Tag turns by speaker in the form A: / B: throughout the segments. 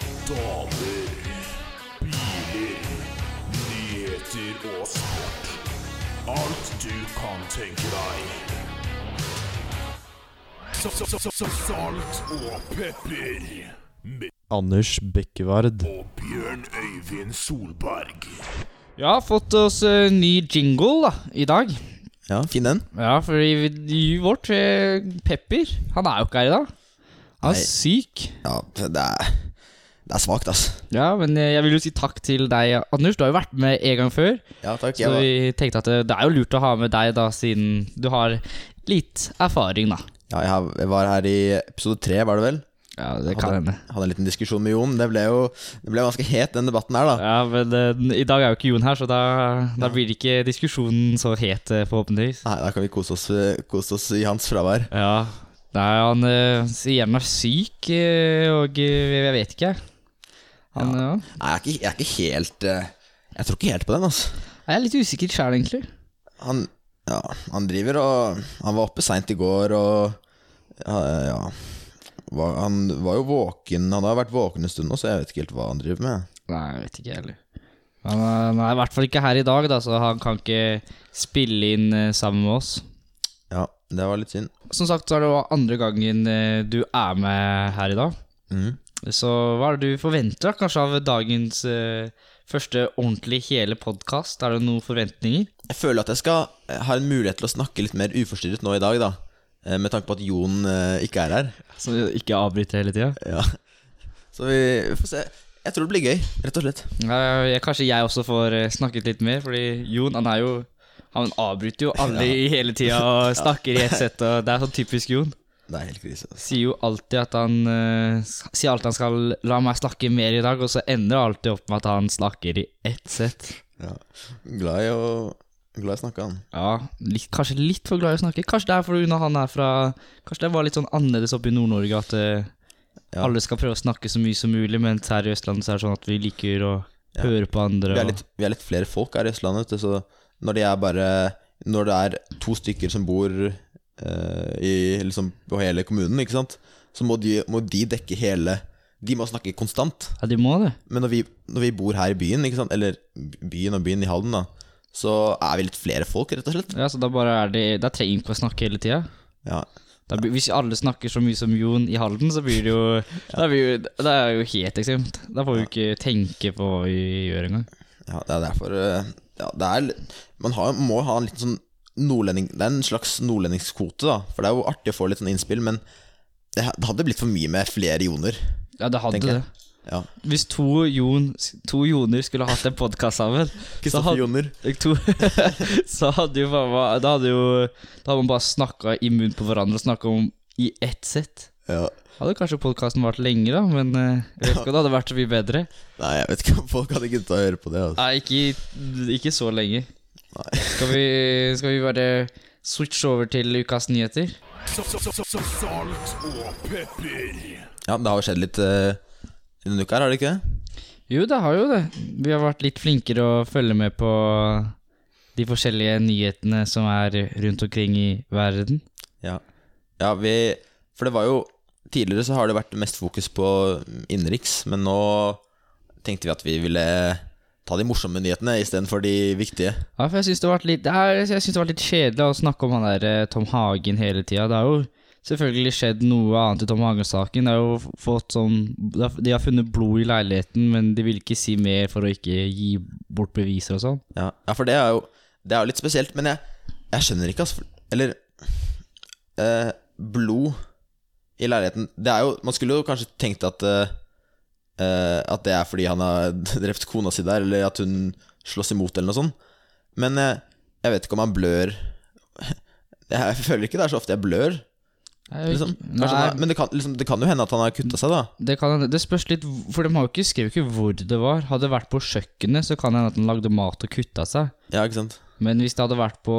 A: Damer, biler, nyheter og sport. Alt du kan tenke deg. Så- så- så- så- Salt og pepper. Med
B: Anders Bekkevard.
A: og Bjørn Øyvind Solberg.
C: Jeg har fått oss eh, ny jingle da, i dag.
D: Ja, fin den.
C: Ja, fordi livet vårt, eh, Pepper, han er jo ikke her i dag. Han er
D: Nei.
C: syk.
D: Ja, det er, det er svakt, ass.
C: Ja, men eh, jeg vil jo si takk til deg, Anders. Du har jo vært med en gang før.
D: Ja, takk.
C: Så vi tenkte at eh, det, det er jo lurt å ha med deg, da, siden du har litt erfaring, da.
D: ja, jeg har- jeg var her i episode tre, var det vel?
C: Ja, det
D: kan
C: hende.
D: Hadde en liten diskusjon med Jon. Det ble jo det ble ganske het, den debatten her, da.
C: Ja, men eh, i dag er jo ikke Jon her, så da, da blir ikke diskusjonen så het, eh, forhåpentligvis.
D: Nei, da kan vi kose oss, kose oss i hans fravær.
C: Ja. Nei, han eh, sier han er syk, eh, og eh, jeg vet ikke. Han, eh, ja.
D: Nei, jeg er ikke, jeg er ikke helt eh, Jeg tror ikke helt på den, ass.
C: Jeg er litt usikker sjøl, egentlig.
D: Han, ja, han driver og Han var oppe seint i går og Ja. ja. Var, han var jo våken. Han har vært våken en stund nå, så jeg vet ikke helt hva han driver med.
C: Nei, jeg vet ikke heller. Han er, han er i hvert fall ikke her i dag, da, så han kan ikke spille inn eh, sammen med oss.
D: Ja, det var litt synd.
C: Som sagt så er det jo andre gangen eh, du er med her i dag.
D: Mhm.
C: Så hva er det du forventer da, kanskje av dagens eh, første ordentlig hele podkast? Er det noen forventninger?
D: Jeg føler at jeg skal eh, ha en mulighet til å snakke litt mer uforstyrret nå i dag, da. Eh, Med tanke på at Jon eh, ikke er her.
C: Så ikke avbryte hele tida?
D: Ja. Så vi får se. Jeg tror det blir gøy, rett og slett.
C: kanskje jeg også får eh, snakket litt mer, fordi Jon han er jo han avbryter jo alle i hele tida og snakker i ett sett. og Det er sånn typisk Jon.
D: Det er helt krise. altså. ass.
C: Sier jo alltid at han eh, s- Sier alltid han skal la meg snakke mer i dag, og så ender det alltid opp med at han snakker i ett sett.
D: Ja. Glad i å Glad i å snakke, han.
C: Ja, litt, kanskje litt for glad i å snakke. Kanskje det er fordi når han er fra Kanskje det var litt sånn annerledes oppe i Nord-Norge at eh,
D: Ja.
C: alle skal prøve å snakke så mye som mulig, mens her i Østlandet så er det sånn at vi liker å
D: Ja.
C: høre på andre.
D: Vi er
C: og-
D: litt, vi er litt flere folk her i Østlandet, vet du, så når det er bare Når det er to stykker som bor eh, i, liksom, på hele kommunen, ikke sant, så må de, må de dekke hele De må snakke konstant.
C: Ja, de må det.
D: Men når vi, når vi bor her i byen, ikke sant? eller byen og byen i Halden, da, så er vi litt flere folk, rett og slett.
C: Ja, så da bare er det Da trenger vi ikke å snakke hele tida.
D: Ja,
C: Da blir- Hvis alle snakker så mye som Jon i Halden, så blir det jo Da blir jo, det er jo helt ekstremt. Da får vi jo ikke tenke på hva vi gjør engang.
D: ja det er derfor eh, ja, det er, litt- Man har, må ha en liten sånn nordlending Det er en slags nordlendingskvote, da. For det er jo artig å få litt sånn innspill, men det, ha- det hadde blitt for mye med flere joner.
C: Ja, det hadde
D: Tenker jeg.
C: det.
D: Ja.
C: Hvis to, Jon, to Joner skulle hatt en podkast sammen, så hadde
D: Joner.
C: Jeg tror- så hadde jo faen meg Da hadde jo Da hadde man bare snakka i munnen på hverandre og snakka om i ett sett.
D: Ja.
C: Hadde kanskje podkasten vart lenger, da, men eh, jeg vet ikke om det hadde vært så mye bedre.
D: Nei, jeg vet ikke om folk hadde giddet å høre på det. Altså.
C: Nei, ikke, ikke så lenge.
D: Nei.
C: Skal vi, skal vi bare switche over til ukas nyheter?
A: Så- så- så- så- Salt og pepper.
D: Ja, det har jo skjedd litt eh, denne uka her, har det ikke det?
C: Jo, det har jo det. Vi har vært litt flinkere å følge med på de forskjellige nyhetene som er rundt omkring i verden.
D: Ja, ja vi, for det var jo Tidligere så har det vært mest fokus på innenriks, men nå tenkte vi at vi ville ta de morsomme nyhetene istedenfor de viktige.
C: Ja, for jeg syns det har vært litt, det er- jeg synes det har vært litt kjedelig å snakke om han der eh, Tom Hagen hele tida. Det har jo selvfølgelig skjedd noe annet i Tom Hagen-saken. Det er jo f- fått sånn det har- De har funnet blod i leiligheten, men de vil ikke si mer for å ikke gi bort beviser og sånn.
D: Ja, ja for det er jo Det er jo litt spesielt, men jeg, jeg skjønner ikke, altså. Eller eh, Blod i leiligheten Det er jo Man skulle jo kanskje tenkt at eh, eh, At det er fordi han har drept kona si der, eller at hun slåss imot, eller noe sånt. Men eh, jeg vet ikke om han blør Jeg føler ikke det er så ofte jeg blør. Liksom. Kanskje han
C: Nei,
D: har- men det kan, liksom, det kan jo hende at han har kutta seg, da.
C: det, kan, hende- det spørs litt For de har jo ikke skrevet ikke hvor det var. Hadde det vært på kjøkkenet, så kan det hende at han lagde mat og kutta seg.
D: Ja, ikke sant?
C: Men hvis det hadde vært på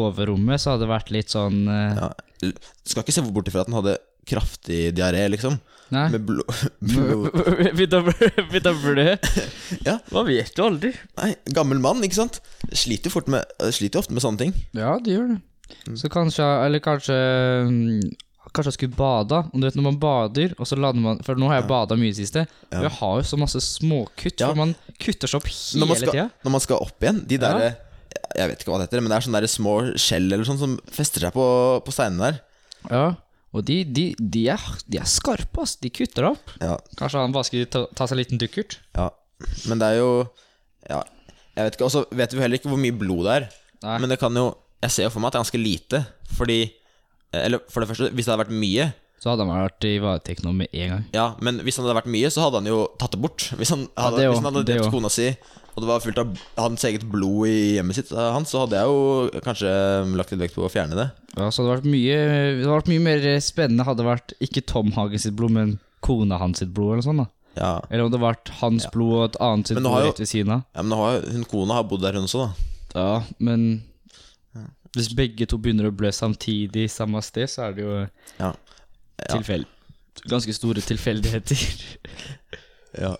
C: soverommet, så hadde det vært litt sånn eh,
D: Ja. L- Skal ikke se bort ifra at han hadde kraftig diaré, liksom.
C: Nei.
D: Med blod, blod
C: Begynte å blø- begynte å blø.
D: Ja.
C: Man vet jo aldri.
D: Nei, gammel mann, ikke sant? Sliter jo, fort med, sliter jo ofte med sånne ting.
C: Ja, det gjør det. Så kanskje Eller kanskje mm, Kanskje jeg skulle bada. Og du vet når man bader, og så lander man For nå har jeg bada mye i det siste.
D: Ja.
C: Og jeg har jo så masse småkutt,
D: Ja.
C: for man kutter seg opp
D: Når
C: hele
D: man, skal,
C: tida.
D: når man skal opp igjen, de
C: Ja.
D: derre Jeg vet ikke hva det heter, men det er sånne der små skjell eller sånn som fester seg på, på steinene der.
C: Ja. Og de, de, de, er, de er skarpe, ass. De kutter opp.
D: Ja,
C: Kanskje han bare skulle ta, ta seg en liten dukkert?
D: ja. Men det er jo Ja, jeg vet ikke. Og så vet vi heller ikke hvor mye blod det er.
C: Nei.
D: Men det kan jo Jeg ser jo for meg at det er ganske lite, fordi eh, Eller for det første, hvis det hadde vært mye
C: Så hadde han vært i varetekt nå med en gang.
D: Ja, men hvis han hadde vært mye, så hadde han jo tatt det bort. Hvis han hadde,
C: det jo,
D: hvis han hadde
C: det
D: drept
C: jo.
D: kona si, og det var fullt av hans eget blod i hjemmet sitt, eh, hans, så hadde jeg jo kanskje mm, lagt litt vekt på å fjerne det.
C: Ja, så det hadde vært mye, det hadde vært mye mer spennende hadde det vært ikke Tom Hagen sitt blod, men kona hans sitt blod, eller noe sånt. da
D: Ja,
C: Eller om det hadde vært hans blod og et annet sitt
D: Men nå
C: blod
D: har jo-
C: rett ved siden av.
D: ja Men nå har jo- hun kona har bodd der, hun også, da.
C: Ja, men hvis begge to begynner å blø samtidig samme sted, så er det jo
D: Ja.
C: tilfell. Ganske store tilfeldigheter.
D: Ja,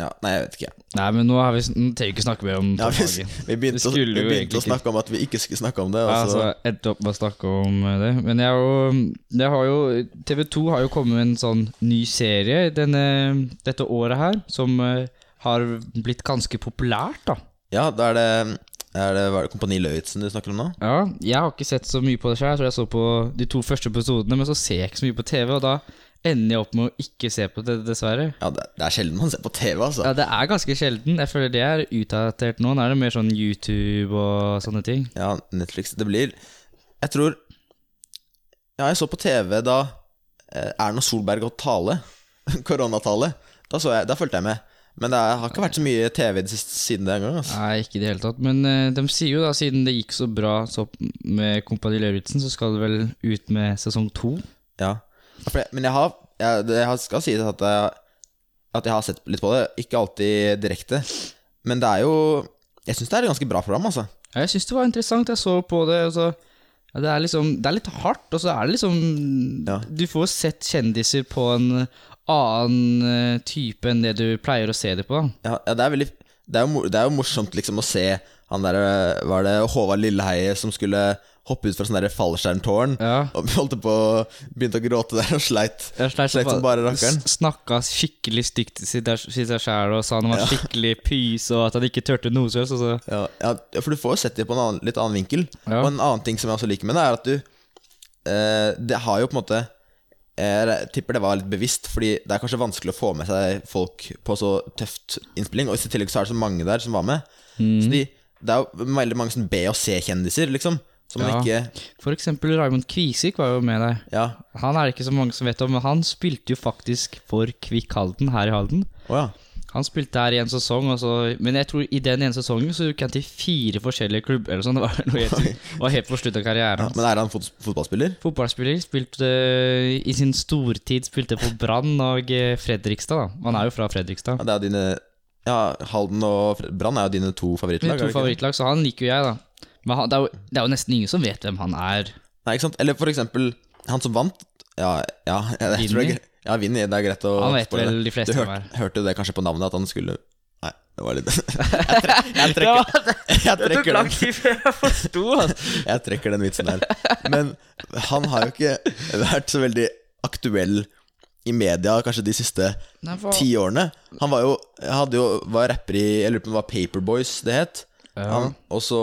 D: ja Nei, jeg vet ikke.
C: Nei, men nå har vi sn- nå trenger vi ikke snakke mer om
D: Ja,
C: Tom
D: vi,
C: Hagen.
D: vi begynte,
C: Vi
D: å, vi
C: skulle jo
D: begynte å
C: egentlig ikke-
D: snakke om at vi ikke skulle snakke om det. altså.
C: Ja, altså.
D: Og
C: så
D: så,
C: jeg endte opp med å snakke om eh, det. Men jeg, har jo- jeg har jo TV 2 har jo kommet med en sånn ny serie denne, dette året her, som eh, har blitt ganske populært, da.
D: ja, da er det, er det, hva er det Kompani Lauritzen du snakker om nå?
C: Ja, jeg har ikke sett så mye på det sjøl. Jeg tror jeg så på de to første episodene, men så ser jeg ikke så mye på TV, og da ender jeg opp med å ikke se på det, dessverre.
D: Ja, det, det er sjelden man ser på TV, altså.
C: Ja, Det er ganske sjelden. Jeg føler det er utdatert nå. Nå er det mer sånn YouTube og sånne ting.
D: Ja, Netflix. Det blir Jeg tror Ja, jeg så på TV da eh, Erna Solberg holdt tale. Koronatale. Da, så jeg, da fulgte jeg med. Men det er, har ikke vært så mye TV i det siste siden den gang. Altså.
C: Nei, ikke i det hele tatt. Men eh, de sier jo da, siden det gikk så bra så med Kompani Lauritzen, så skal det vel ut med sesong to?
D: Ja. Ja, for jeg- Men jeg har jeg, det- jeg skal sies at jeg, at jeg har sett litt på det. Ikke alltid direkte. Men det er jo Jeg syns det er et ganske bra program, altså.
C: Ja, jeg syns det var interessant. Jeg så på det, og så ja, det, er liksom, det er litt hardt, og så er det liksom
D: Ja.
C: Du får sett kjendiser på en annen eh, type enn det du pleier å se det på. da.
D: Ja, ja det er veldig det er, jo, mor- det er jo morsomt liksom å se han derre Var det Håvard Lilleheie som skulle hoppe ut fra sånn derre fallskjermtårn?
C: Ja.
D: Og holdt på Begynte å gråte der og sleit.
C: Jeg sleit som
D: som bare rakkeren.
C: s- Snakka skikkelig stygt til seg sjæl og sa han var skikkelig pys og at han ikke turte noe som helst. og så-
D: Ja, ja, for du får jo sett det på en annen, litt annen vinkel.
C: Ja.
D: Og en annen ting som jeg også liker med det, er at du eh, Det har jo på en måte eh, Jeg tipper det var litt bevisst, fordi det er kanskje vanskelig å få med seg folk på så tøft innspilling, og i tillegg så er det så mange der som var med.
C: Mm.
D: Så de, det er jo veldig mange sånn B- og C-kjendiser, liksom. Som man
C: Ja.
D: ikke
C: For eksempel Raymond Kvisik var jo med der.
D: Ja.
C: Han er det ikke så mange som vet om, men han spilte jo faktisk for Kvikk Halden her i Halden.
D: Å ja.
C: Han spilte her i en sesong, og så, men jeg tror i den ene sesongen så gikk han til fire forskjellige klubber. eller sånn. Det var, noe helt, det var helt på slutt av karrieren. hans.
D: Men er han fot fotballspiller?
C: Fotballspiller spilte eh, i sin stortid spilte for Brann og eh, Fredrikstad. da. Han er jo fra Fredrikstad.
D: Ja, det er dine Ja, Halden og Fre- Brann er jo dine to
C: Mitt to
D: favorittlag. er det ikke det?
C: favorittlag, så han liker jo jeg, da. Men han, det, er jo, det er jo nesten ingen som vet hvem han er.
D: Nei, ikke sant? Eller for eksempel han som vant. Ja, ja
C: Vinny?
D: jeg, tror det er gre- Ja, Vinny. Det er greit å
C: Han vet
D: spoile
C: vel de
D: det.
C: fleste
D: Du
C: hvem
D: hørte, hørte jo det kanskje på navnet at han skulle Nei, det var litt Jeg, tre, jeg, trekker, jeg, trekker, den,
C: tid før jeg forsto, altså.
D: jeg trekker den vitsen der. Men han har jo ikke vært så veldig aktuell i media kanskje de siste
C: Nei, for-
D: ti årene. Han var jo, hadde jo var rapper i Jeg lurer på om det var Paperboys det het. Han, og så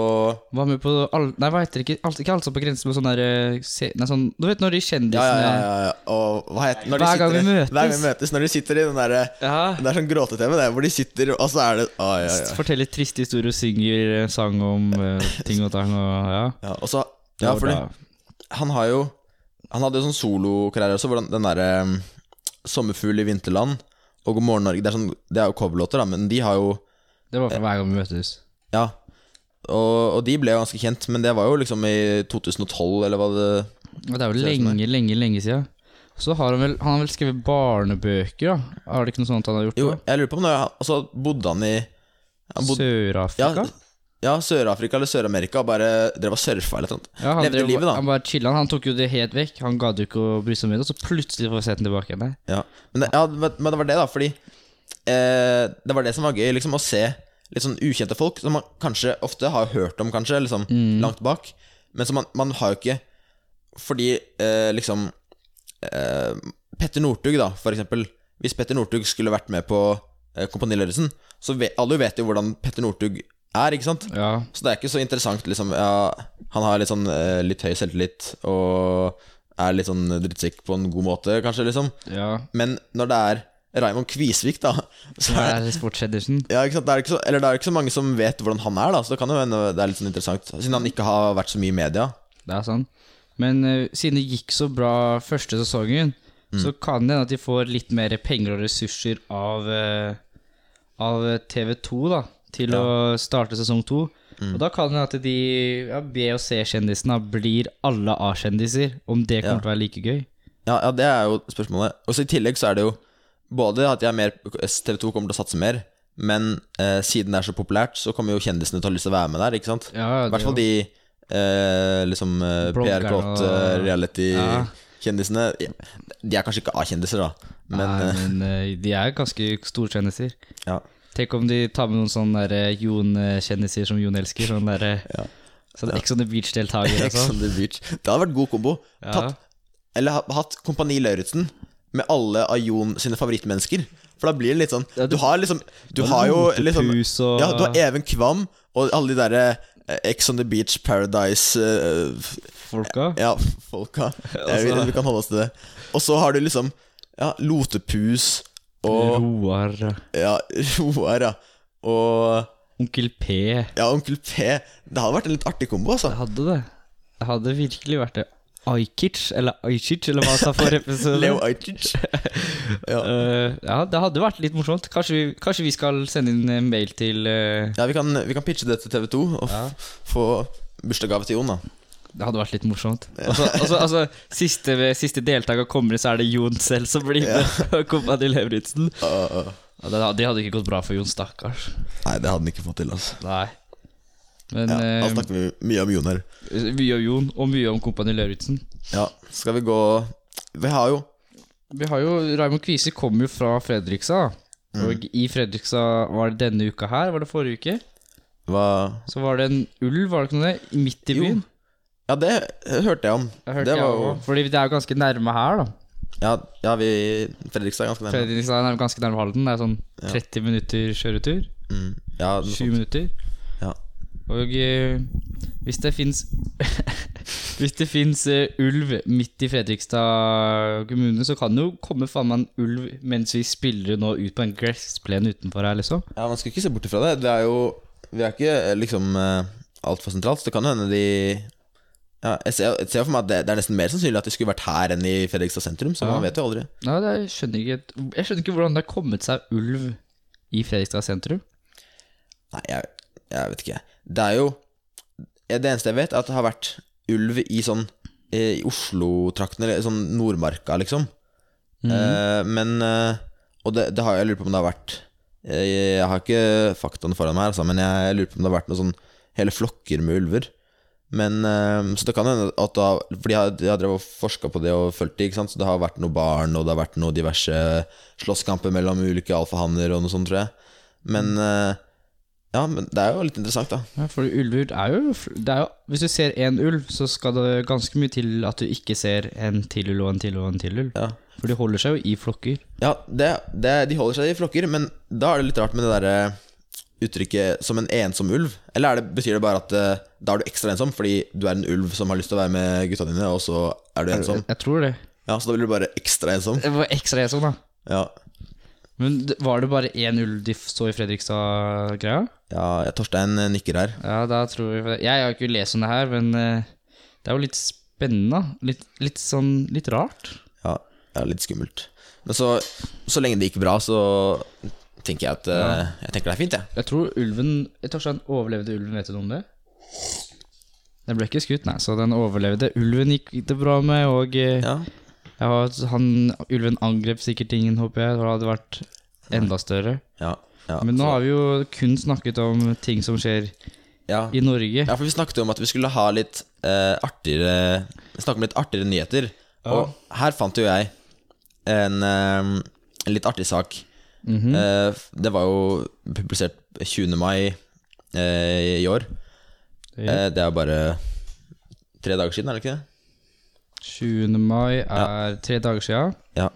C: Var med på all, Nei, hva heter det? Ikke, alt, ikke alt som på grensen med sånn der eh, se, Nei, sånn Du vet når de kjendisene
D: ja, ja, ja, ja, ja. Og hva heter når de
C: Hver gang
D: sitter-
C: vi møtes.
D: Hver gang vi møtes Når de sitter i den derre
C: Ja.
D: Det er sånn gråte-TV, det, hvor de sitter, og så er det Å, ja, ja.
C: Forteller triste historier og synger eh, sang om eh, ting og tang og ja.
D: ja. Og så Ja,
C: Og
D: for
C: da-
D: han har jo Han hadde jo sånn solokarriere også, hvor han- den derre um, Sommerfugl i vinterland og God morgen Norge Det er, sånn, det er jo coverlåter, da, men de har jo
C: Det var for hver gang vi møtes.
D: Ja. Og, og de ble jo ganske kjent, men det var jo liksom i 2012, eller hva det
C: Og det er jo
D: Ser ut som
C: lenge, lenge, lenge siden. Så har han vel, han har vel skrevet barnebøker, da? Har det ikke noe sånt han har gjort?
D: Jo,
C: da?
D: jeg lurer på om det Og så bodde han i han bodde,
C: Sør-Afrika?
D: Ja, ja Sør-Afrika eller Sør-Amerika og bare drev og surfa eller noe.
C: Ja, han,
D: Levde
C: drev,
D: livet, da.
C: han bare chilla. Han tok jo det helt vekk. Han gadd jo ikke å bry seg om det, og så plutselig får vi sett den tilbake igjen. der.
D: Ja. Men, det, ja, men men det var det, da, fordi eh, Det var det som var gøy, liksom, å se litt sånn ukjente folk som man kanskje ofte har hørt om, kanskje, liksom, langt bak, men som man, man har jo ikke Fordi eh, liksom eh, Petter Northug, da, for eksempel. Hvis Petter Northug skulle vært med på eh, Kompani Lauritzen, så vet, alle vet jo hvordan Petter Northug er, ikke sant?
C: Ja.
D: Så det er ikke så interessant, liksom. Ja, han har litt sånn eh, litt høy selvtillit og er litt sånn drittsekk på en god måte, kanskje, liksom.
C: ja.
D: Men når det er Raymond Kvisvik, da, så er det
C: Det er sportskjeddersen.
D: ja, ikke sant? Det er ikke så, eller det er ikke så mange som vet hvordan han er, da, så det kan jo hende det er litt sånn interessant. Siden han ikke har vært så mye i media.
C: Det er sånn. Men eh, siden det gikk så bra første sesongen,
D: Mm.
C: så kan det hende at de får litt mer penger og ressurser av, eh, av TV2 da, til å starte sesong to.
D: Mm.
C: Og da kan det hende at de ja, B- og C-kjendisene blir alle A-kjendiser, om det kommer
D: Ja.
C: til å være like gøy.
D: Ja, ja, det er jo spørsmålet. Og så I tillegg så er det jo både at jeg er mer TV2 kommer til å satse mer, men eh, siden det er så populært, så kommer jo kjendisene til å ha lyst til å være med der, ikke sant?
C: Ja,
D: I hvert fall de eh, liksom eh,
C: Bloggerne og-
D: PR-kåte
C: Ja.
D: reality-kjendisene. De er kanskje ikke A-kjendiser, da,
C: Men,
D: men eh,
C: Nei, men eh, de er ganske store kjendiser.
D: ja.
C: Tenk om de tar med noen sånne der, eh, Jon-kjendiser som Jon elsker. Sånn der, eh,
D: Ja.
C: Sånn Ex on the Beach-deltaker. sånn.
D: Ex on the beach. Det hadde vært god kombo. Tatt Eller ha- hatt Kompani Lauritzen med alle av Jon sine favorittmennesker. For da blir det litt sånn
C: Ja,
D: Du
C: du-
D: har liksom Du har jo liksom
C: Lotepus og
D: Ja, du har Even Kvam og alle de derre eh, Ex on the Beach, Paradise eh, f-
C: folka.
D: Ja, folka. Jeg vet,
C: Altså-
D: vi kan holde oss til det. Og så har du liksom Ja, Lotepus og
C: Roar,
D: Ja, Roar, ja. Og
C: Onkel P.
D: Ja, Onkel P. Det hadde vært en litt artig kombo, altså.
C: Det hadde det. Det hadde virkelig vært det. Ajkic, eller Ajkic, eller hva han sa for episode.
D: Leo Ajkic. Ja.
C: Eh, ja, det hadde vært litt morsomt. Kanskje vi, kanskje vi skal sende inn en mail til eh,
D: Ja, vi kan, vi kan pitche det til TV2 og f
C: Ja.
D: få bursdagsgave til Jon, da.
C: Det hadde vært litt morsomt. Og så- og så- altså, siste, siste deltaker kommer, så er det Jon selv som blir med. Kompani Lauritzen.
D: Uh, uh.
C: Ja, Det hadde- det hadde ikke gått bra for Jon, stakkars.
D: Nei, det hadde han ikke fått til, altså.
C: Nei. Men
D: Ja,
C: eh,
D: da snakker vi mye om Jon her.
C: mye om Jon, og mye om Kompani Lauritzen.
D: Ja, skal vi gå Vi har jo
C: Vi har jo, Raymond Kvise kom jo fra Fredrikstad.
D: Mm.
C: da. Og i Fredrikstad var det denne uka her, var det forrige uke?
D: Hva
C: Så var det en ulv, var det ikke noe det? Midt i
D: Jo,
C: byen.
D: Ja, det hørte jeg om.
C: Jeg hørte
D: det
C: jeg også. Fordi det er jo ganske nærme her, da.
D: Ja, ja, vi Fredrikstad er ganske nærme.
C: Fredrikstad er ganske nærme Halden. Det er sånn 30 minutter kjøretur.
D: Mm, ja,
C: 7 minutter.
D: ja.
C: Og eh, hvis det fins Hvis det fins eh, ulv midt i Fredrikstad kommune, så kan det jo komme faen meg en ulv mens vi spiller nå ut på en gressplen utenfor her, liksom.
D: ja, man skal ikke se bort ifra det. Det er jo Vi er ikke eh, liksom eh, altfor sentralt, så det kan jo hende de ja, jeg, ser, jeg ser for meg at det, det er nesten mer sannsynlig at de skulle vært her enn i Fredrikstad sentrum, så
C: Ja.
D: man vet jo aldri.
C: Nei, det, jeg, skjønner ikke, jeg skjønner ikke hvordan det har kommet seg ulv i Fredrikstad sentrum.
D: Nei, jeg, jeg vet ikke. Det er jo Det eneste jeg vet, er at det har vært ulv i sånn eh, I Oslo-trakten, eller sånn Nordmarka, liksom. Eh, men eh, Og det, det har jeg lurer på om det har vært Jeg, jeg har ikke faktaene foran meg, her, altså, men jeg, lurer på om det har vært noe sånn hele flokker med ulver. Men eh, Så det kan hende at da For de har, de har drevet og forska på det og fulgt det, ikke sant. Så det har vært noe barn, og det har vært noe diverse slåsskamper mellom ulike alfahanner og noe sånt, tror jeg. Men eh, ja, men det er jo litt interessant, da.
C: Ja, for ulver er jo, fl- det er jo Hvis du ser én ulv, så skal det ganske mye til at du ikke ser en til ulv og en til ulv og en til ulv.
D: Ja,
C: For de holder seg jo i flokker.
D: ja det, det, De holder seg i flokker, men da er det litt rart med det derre uttrykket 'som en ensom ulv'. Eller er det, betyr det bare at eh, da er du ekstra ensom fordi du er en ulv som har lyst til å være med gutta dine, og så er du ensom?
C: Jeg tror det. sånn?
D: Ja, Så da blir du bare ekstra ensom?
C: Det var ekstra jeg sånn, da.
D: Ja,
C: Men d- var det bare én ulv de f- så i Fredrikstad-greia?
D: ja jeg- Torstein eh, nikker her.
C: Ja, da tror jeg for- Jeg har ikke lest om det her, men eh, det er jo litt spennende. da. Litt, litt sånn litt rart.
D: Ja, det er litt skummelt. Men så, så lenge det gikk bra, så tenker jeg at eh, Jeg tenker det er fint, jeg.
C: Jeg tror ulven jeg tror ikke han overlevde ulven, vet du noe om det? Den ble ikke skutt, nei, så den overlevde. Ulven gikk det bra med, og eh,
D: Ja.
C: jeg har, han, ulven angrep sikkert ingen, håper jeg. Det hadde vært enda større.
D: Ja, ja,
C: Men nå
D: så-
C: har vi jo kun snakket om ting som skjer
D: ja.
C: i Norge.
D: Ja, for vi snakket jo om at vi skulle ha litt eh, artigere Snakke om litt artigere nyheter. Og her fant jo jeg en eh, en litt artig sak.
C: Mm. Mhm.
D: Eh, f- det var jo publisert 20. mai eh, i år.
C: Ja.
D: Eh, det er jo bare tre dager siden, er det ikke det?
C: 20. mai er tre dager sia.
D: Ja.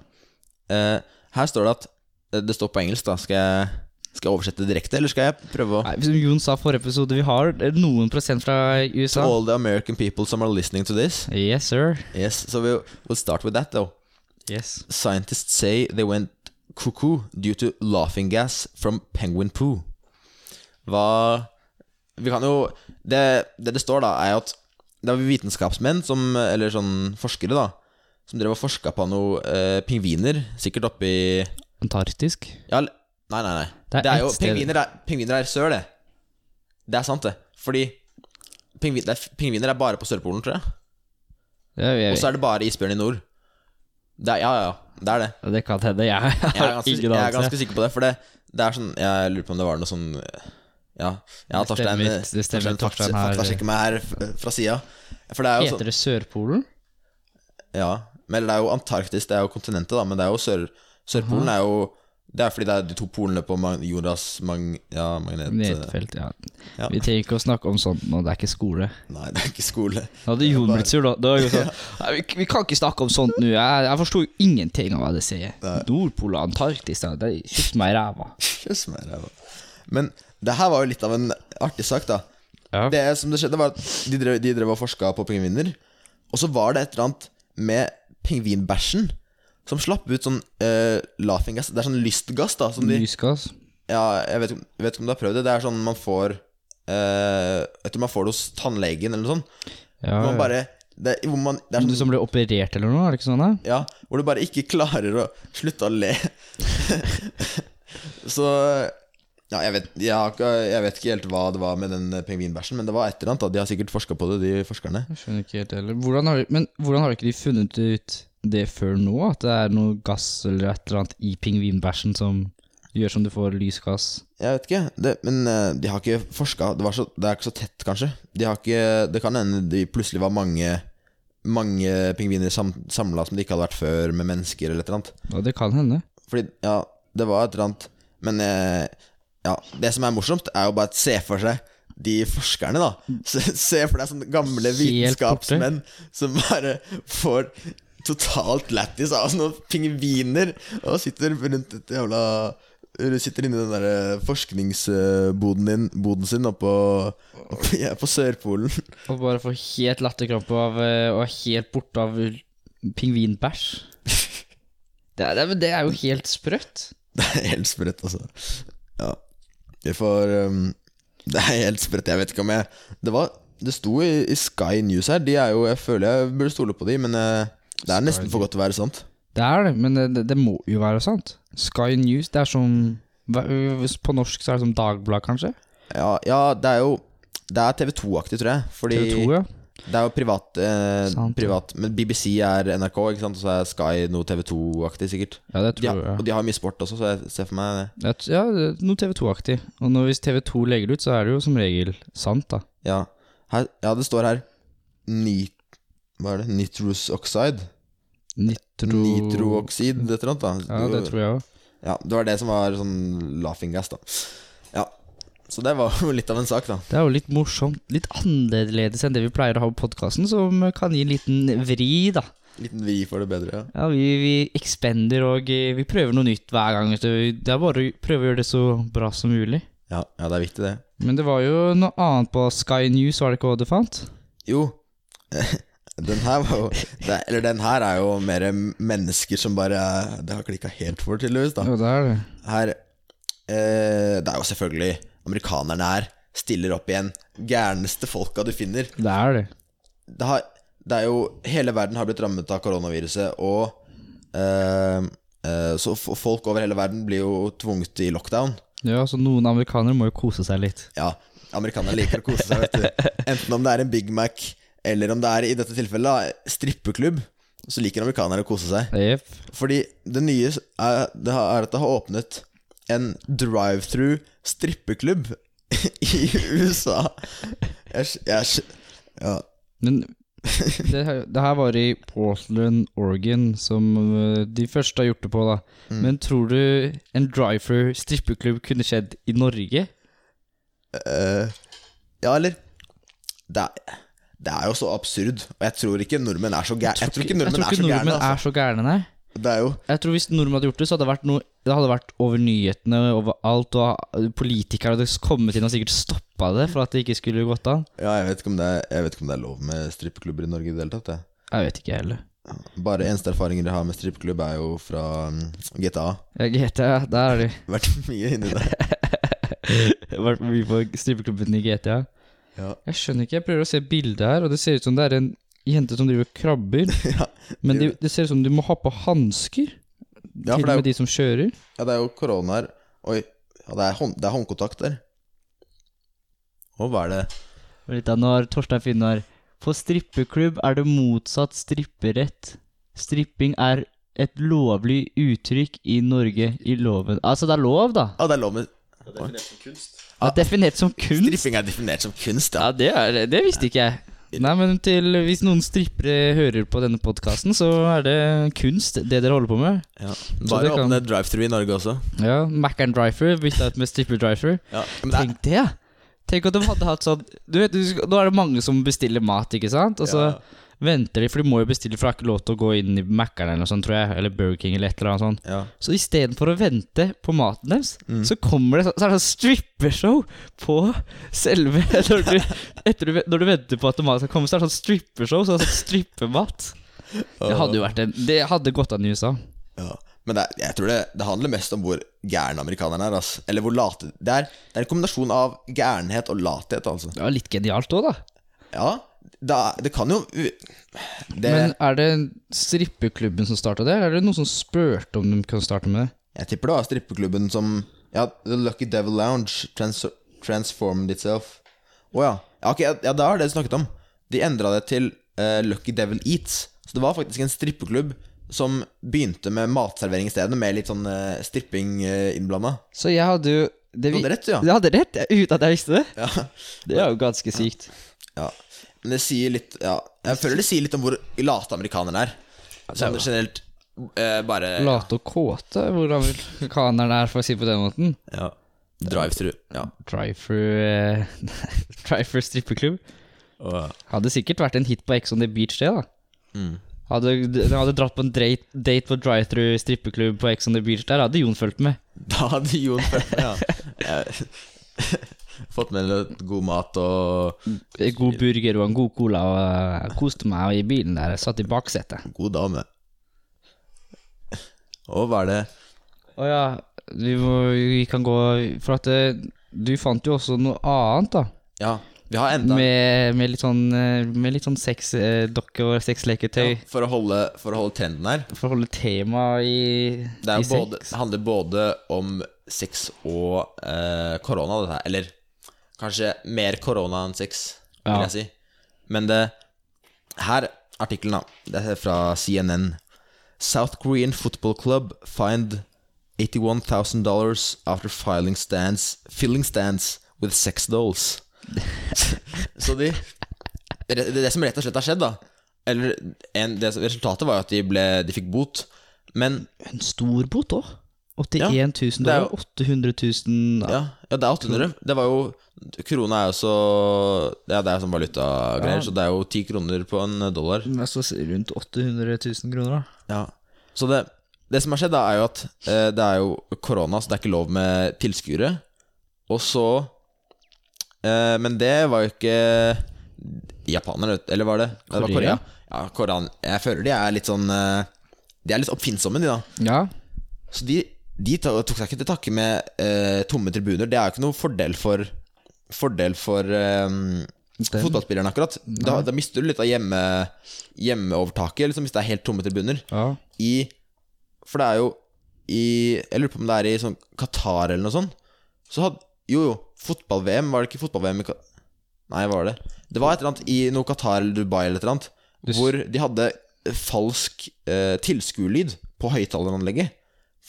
D: Eh, her står det at eh, Det står på engelsk, da. Skal jeg, skal jeg oversette det direkte, eller skal jeg prøve å
C: Nei, Som Jon sa forrige episode, vi har eh, noen prosent fra USA.
D: All the American people som are listening to this.
C: Yes, sir.
D: Yes, so we, we'll start with that, though.
C: Yes.
D: Scientists say they went cuckoo due to laughing gas from penguin poo. Hva Vi kan jo Det det, det står, da, er at det var vitenskapsmenn, som, eller sånn forskere, da, som drev og forska på noe eh, pingviner, sikkert oppi
C: Antarktisk.
D: Ja, eller- nei, nei, nei.
C: Det er
D: Det er,
C: ett
D: jo
C: sted.
D: pingviner er, pingviner er sør, det. Det er sant, det. Fordi pingvin, det er, pingviner er bare på Sørpolen, tror jeg.
C: Det, jeg,
D: Og så er det bare isbjørn i nord. Det er, ja, ja, ja. Det er det.
C: det kan hende. Jeg har
D: Jeg er ganske,
C: ingen
D: jeg er
C: anelse.
D: ganske sikker på det, for det, det er sånn Jeg lurer på om det var noe sånn Ja, ja
C: Det
D: Torstein
C: stemmer, det stemmer, Torstein her-
D: faktasjekker meg her f- fra sida. For det er jo sånn
C: Heter det Sørpolen?
D: Ja. Men det er jo Antarktis, det er jo kontinentet, da, men det er jo Sør... Sørpolen er jo Det er fordi det er de to polene på mag jordas mag ja, magnet...
C: Nedfelt, ja.
D: eh, Ja.
C: Vi trenger ikke å snakke om sånt nå, det er ikke skole.
D: Nei, det er ikke skole.
C: Da hadde Jon blitt sur, da. da hadde Jon sagt, Nei, vi, vi kan ikke snakke om sånt nå. Jeg, jeg forsto jo ingenting av hva det sier. Nordpolen og Antarktis, da. Det kysser meg i ræva.
D: Kjøss meg, ræva. Men det her var jo litt av en artig sak, da.
C: Ja.
D: Det som det skjedde, var at de drev, de drev og forska på pingviner. Og så var det et eller annet med pingvinbæsjen som slapp ut sånn eh, laughing gas. Det er sånn lystgass, da. Som de,
C: Lysgass.
D: ja, jeg vet, ikke om- jeg vet ikke om du har prøvd det. Det er sånn man får eh, Jeg tror man får det hos tannlegen eller noe sånt.
C: Ja,
D: Hvor man
C: ja.
D: bare det, er- hvor man, det er
C: Du
D: sånn
C: som ble operert eller noe, er det ikke sånn? da?
D: ja, hvor du bare ikke klarer å slutte å le. så ja, jeg, vet, jeg, har ikke, jeg vet ikke helt hva det var med den pingvinbæsjen, men det var et eller annet. da De har sikkert forska på det, de forskerne.
C: Jeg skjønner ikke helt heller. Hvordan har, men hvordan har ikke de funnet ut det før nå? At det er noe gass eller et eller annet i pingvinbæsjen som gjør som du får lysgass?
D: Jeg vet ikke, det, men eh, de har ikke forska. Det, var så- det er ikke så tett, kanskje. De har ikke, det kan hende de plutselig var mange Mange pingviner sam, samla som de ikke hadde vært før, med mennesker eller et eller annet.
C: Ja, det kan hende.
D: Fordi, ja, det var et eller annet Men eh, ja, det som er morsomt Er jo bare å se for seg De forskerne da Se, se for deg sånne gamle
C: Helt
D: vitenskapsmenn Som bare får Totalt lættis av sånne pingviner Og sitter rundt et jævla eller Sitter inne i den der eh, forskningsboden din, boden sin oppe på, ja, på Sørpolen
C: Og bare få helt latterkrampe av eh, og er helt borte av pingvinbæsj. Det er, det, er- men det er jo helt sprøtt.
D: Det er helt sprøtt, altså. Ja. Vi får um, Det er helt sprøtt. Jeg vet ikke om jeg Det, var, det sto i, i Sky News her. De er jo Jeg føler jeg burde stole på de, men eh, det er nesten for godt til å være sant.
C: Det er det, men det, det må jo være sant. Sky News, det er som hva- hvis På norsk så er det som Dagbladet, kanskje?
D: Ja, ja det er jo Det er TV 2-aktig, tror jeg. Fordi
C: TV 2, ja.
D: det er jo privat, eh,
C: Sant, ja.
D: privat Men BBC er NRK, ikke sant? og så er Sky noe TV 2-aktig, sikkert.
C: Ja, det
D: De
C: tror
D: har,
C: jeg.
D: Og de har mye sport også, så jeg ser for meg det.
C: Det er- Ja, det er noe TV 2-aktig. Og når, hvis TV 2 legger det ut, så er det jo som regel sant, da.
D: Ja, her, ja det står her Ni, Hva er det? Nitrous oxide?
C: Nitro...
D: Nitrooksid, et eller annet. da
C: Ja, det tror jeg òg.
D: ja, Det var det som var sånn laughing gas, da. Ja. Så det var jo litt av en sak, da.
C: Det er jo litt morsomt. Litt annerledes enn det vi pleier å ha på podkasten, som kan gi en liten vri, da.
D: Liten vri for det bedre.
C: Ja, vi, vi expander og eh, vi prøver noe nytt hver gang. vet du. Det er bare å prøve å gjøre det så bra som mulig.
D: Ja, ja, ja det er viktig, det.
C: Men det var jo noe annet på Sky News, var det ikke hva du fant?
D: Jo, den her var jo det, Eller den her er jo mer mennesker som bare Det har klikka helt for, tydeligvis, da.
C: det er det.
D: Her eh, Det er jo selvfølgelig amerikanerne her stiller opp igjen. Gærneste folka du finner.
C: Det er det.
D: det, har, det er jo Hele verden har blitt rammet av koronaviruset, og eh, eh, Så f- folk over hele verden blir jo tvunget i lockdown.
C: Ja, så noen amerikanere må jo kose seg litt.
D: Ja, amerikanere liker å kose seg, vet du. Enten om det er en Big Mac, eller om det er i dette tilfellet da, strippeklubb, så liker amerikanere å kose seg.
C: Jepp.
D: Fordi det nye er, det har- er at det har åpnet en drive-through strippeklubb i USA. Jeg, skj- jeg, skj- ja.
C: Men det, her- det her var i Portland, Oregon, som øh, de første har gjort det på, da. Men tror du en drive-through strippeklubb kunne skjedd i Norge?
D: Eh, ja, eller det er, Det er jo så absurd. Og jeg tror ikke nordmenn er så gærne. Jeg tror ikke nordmenn
C: jeg tror
D: er så
C: ikke
D: gærne.
C: nordmenn er
D: Altså.
C: så gærne, nei.
D: Det er jo
C: Jeg tror Hvis nordmenn hadde gjort det, så hadde det vært, noe, det hadde vært over nyhetene overalt. Og politikere hadde kommet inn og sikkert stoppa det for at det ikke skulle gått an.
D: Ja, jeg vet ikke om det er, jeg vet ikke om det er lov med strippeklubber i Norge i det hele tatt. Jeg.
C: Jeg vet ikke, jeg heller.
D: Bare eneste erfaringer jeg har med strippeklubb, er jo fra mm, GTA.
C: Jeg GTA, der er de.
D: Vært mye inni det.
C: Vært mye på strippeklubben i GTA.
D: Ja.
C: Jeg skjønner ikke, jeg prøver å se bildet her, og det ser ut som det er en jente som driver og krabber.
D: Ja,
C: Men det,
D: gjør
C: det ser ut som du må ha på hansker, til
D: Ja, for
C: og
D: det er
C: med
D: jo,
C: de som kjører.
D: ja, det er jo korona her. Oi, ja, det, er hånd, det er håndkontakt der. Og hva er det
C: Og litt av når Torstein Finnar På strippeklubb er det motsatt stripperett. Stripping er et lovlig uttrykk i Norge i loven. Altså, det er lov, da.
D: Ja, det er lov med
C: Det er definert som kunst.
D: Stripping er definert som kunst,
C: Ja,
D: ja.
C: det, er, det visste ikke jeg. Nei, men til, hvis noen strippere hører på denne podkasten, så er det kunst, det dere holder på med.
D: ja.
C: det
D: Bare
C: kan-
D: åpne drive-thru i Norge også.
C: Ja, Mac and Driver bytta ut med Stripper Driver.
D: Ja, men det er,
C: Tenk det, ja. Tenk at de hadde hatt sånn Du vet, du skal- Nå er det mange som bestiller mat, ikke sant? Og så venter de, for de må jo bestille, for det er ikke lov til å gå inn i Mac-eren eller noe sånt, tror jeg. Eller Burger King eller et eller annet sånt.
D: ja.
C: Så istedenfor å vente på maten deres,
D: Mm.
C: så kommer det så, så er det sånn strippershow på selve når du, etter du, Når du venter på at maten skal komme, så er det sånn strippershow, så er det sånn strippemat. Det hadde jo vært en Det hadde gått an i USA.
D: Ja. Men det, er- jeg tror det, det handler mest om hvor gærne amerikanerne er. Altså. Eller hvor late det er, det er en kombinasjon av gærenhet og lathet, altså.
C: Det var litt genialt òg, da.
D: Ja, da, det kan jo u- det,
C: Men er det strippeklubben som starta det, eller er det noen som spurte om de kunne starte med det?
D: Jeg tipper det var strippeklubben som Ja, The Lucky Devil Lounge trans transformed itself. Å ja. Ja, ok, ja, det er det du snakket om. De endra det til eh, Lucky Devil Eats. Så det var faktisk en strippeklubb som begynte med matservering i stedet, med litt sånn eh, stripping uh, innblanda.
C: Så jeg hadde jo det vi-
D: Du hadde rett, du, ja.
C: Jeg hadde rett, jeg- uten at jeg visste det.
D: ja.
C: Det er jo ganske sykt.
D: Ja, men det sier litt Ja, jeg føler det sier litt om hvor late amerikanerne er. Sånn generelt eh, bare
C: Late og kåte, hvor amerikanerne er, for å si det på den måten.
D: ja. Drive-through. Ja.
C: Drive-thru eh, drive strippeklubb. Hadde sikkert vært en hit på Ex on the Beach, det, da. Hadde, de hadde dratt på en date, date på drive-thru strippeklubb på Ex on the Beach der, hadde Jon fulgt med.
D: Da hadde Jon følt med, ja. Fått med litt god mat og
C: God burger og en god cola, og eh, koste meg i bilen der, satt i baksetet.
D: god dame. Og hva er det
C: Å ja, vi, må, vi kan gå For at eh, du fant jo også noe annet, da.
D: Ja, vi har enda
C: Med, med litt sånn eh, Med litt sånn sexdokke og sexleketøy.
D: ja, for, å holde, for å holde trenden her.
C: For å holde temaet i,
D: Det er
C: i
D: jo både, det handler både om sex og eh, korona, dette her. Eller kanskje mer korona enn sex, vil
C: Ja.
D: jeg si. Men det Her, artikkelen, da. Det er fra CNN. South Korean Football Club find 81,000 dollars after filing stands, filling stands with sex dolls. Så de det, det det som rett og slett har skjedd, da Eller en, det, som- Resultatet var jo at de, ble, de fikk bot, men
C: En stor bot òg. 81
D: Ja,
C: 000
D: det er
C: dollar. 800 000 ja.
D: Ja, ja det er 800. Det var jo Krona er jo så Ja, det er jo sånn valutagreier,
C: Ja.
D: så det er jo 10 kroner på en dollar.
C: Altså rundt 800 000 kroner, da.
D: Ja. Så det, det som har skjedd, da, er jo at eh, det er jo korona, så det er ikke lov med tilskuere. Og så eh, Men det var jo ikke japanere, vet du, eller var det? Nei, Det var
C: Korea.
D: Korea. Ja, Korean. Jeg føler de er litt sånn eh, De er litt oppfinnsomme, de, da.
C: Ja.
D: Så de, de ta- tok seg ikke til takke med eh, tomme tribuner. Det er jo ikke noe fordel for Fordel for eh, fotballspilleren, akkurat. Da, da mister du litt av hjemme, hjemmeovertaket, liksom, hvis det er helt tomme tribuner.
C: ja.
D: I For det er jo i Jeg lurer på om det er i sånn Qatar eller noe sånt. Så hadde Jo, jo, fotball-VM. Var det ikke fotball-VM i Qatar? Nei, var det Det var et eller annet i noe Qatar eller Dubai eller et eller annet,
C: Du s-
D: hvor de hadde falsk eh, tilskuerlyd på høyttaleranlegget.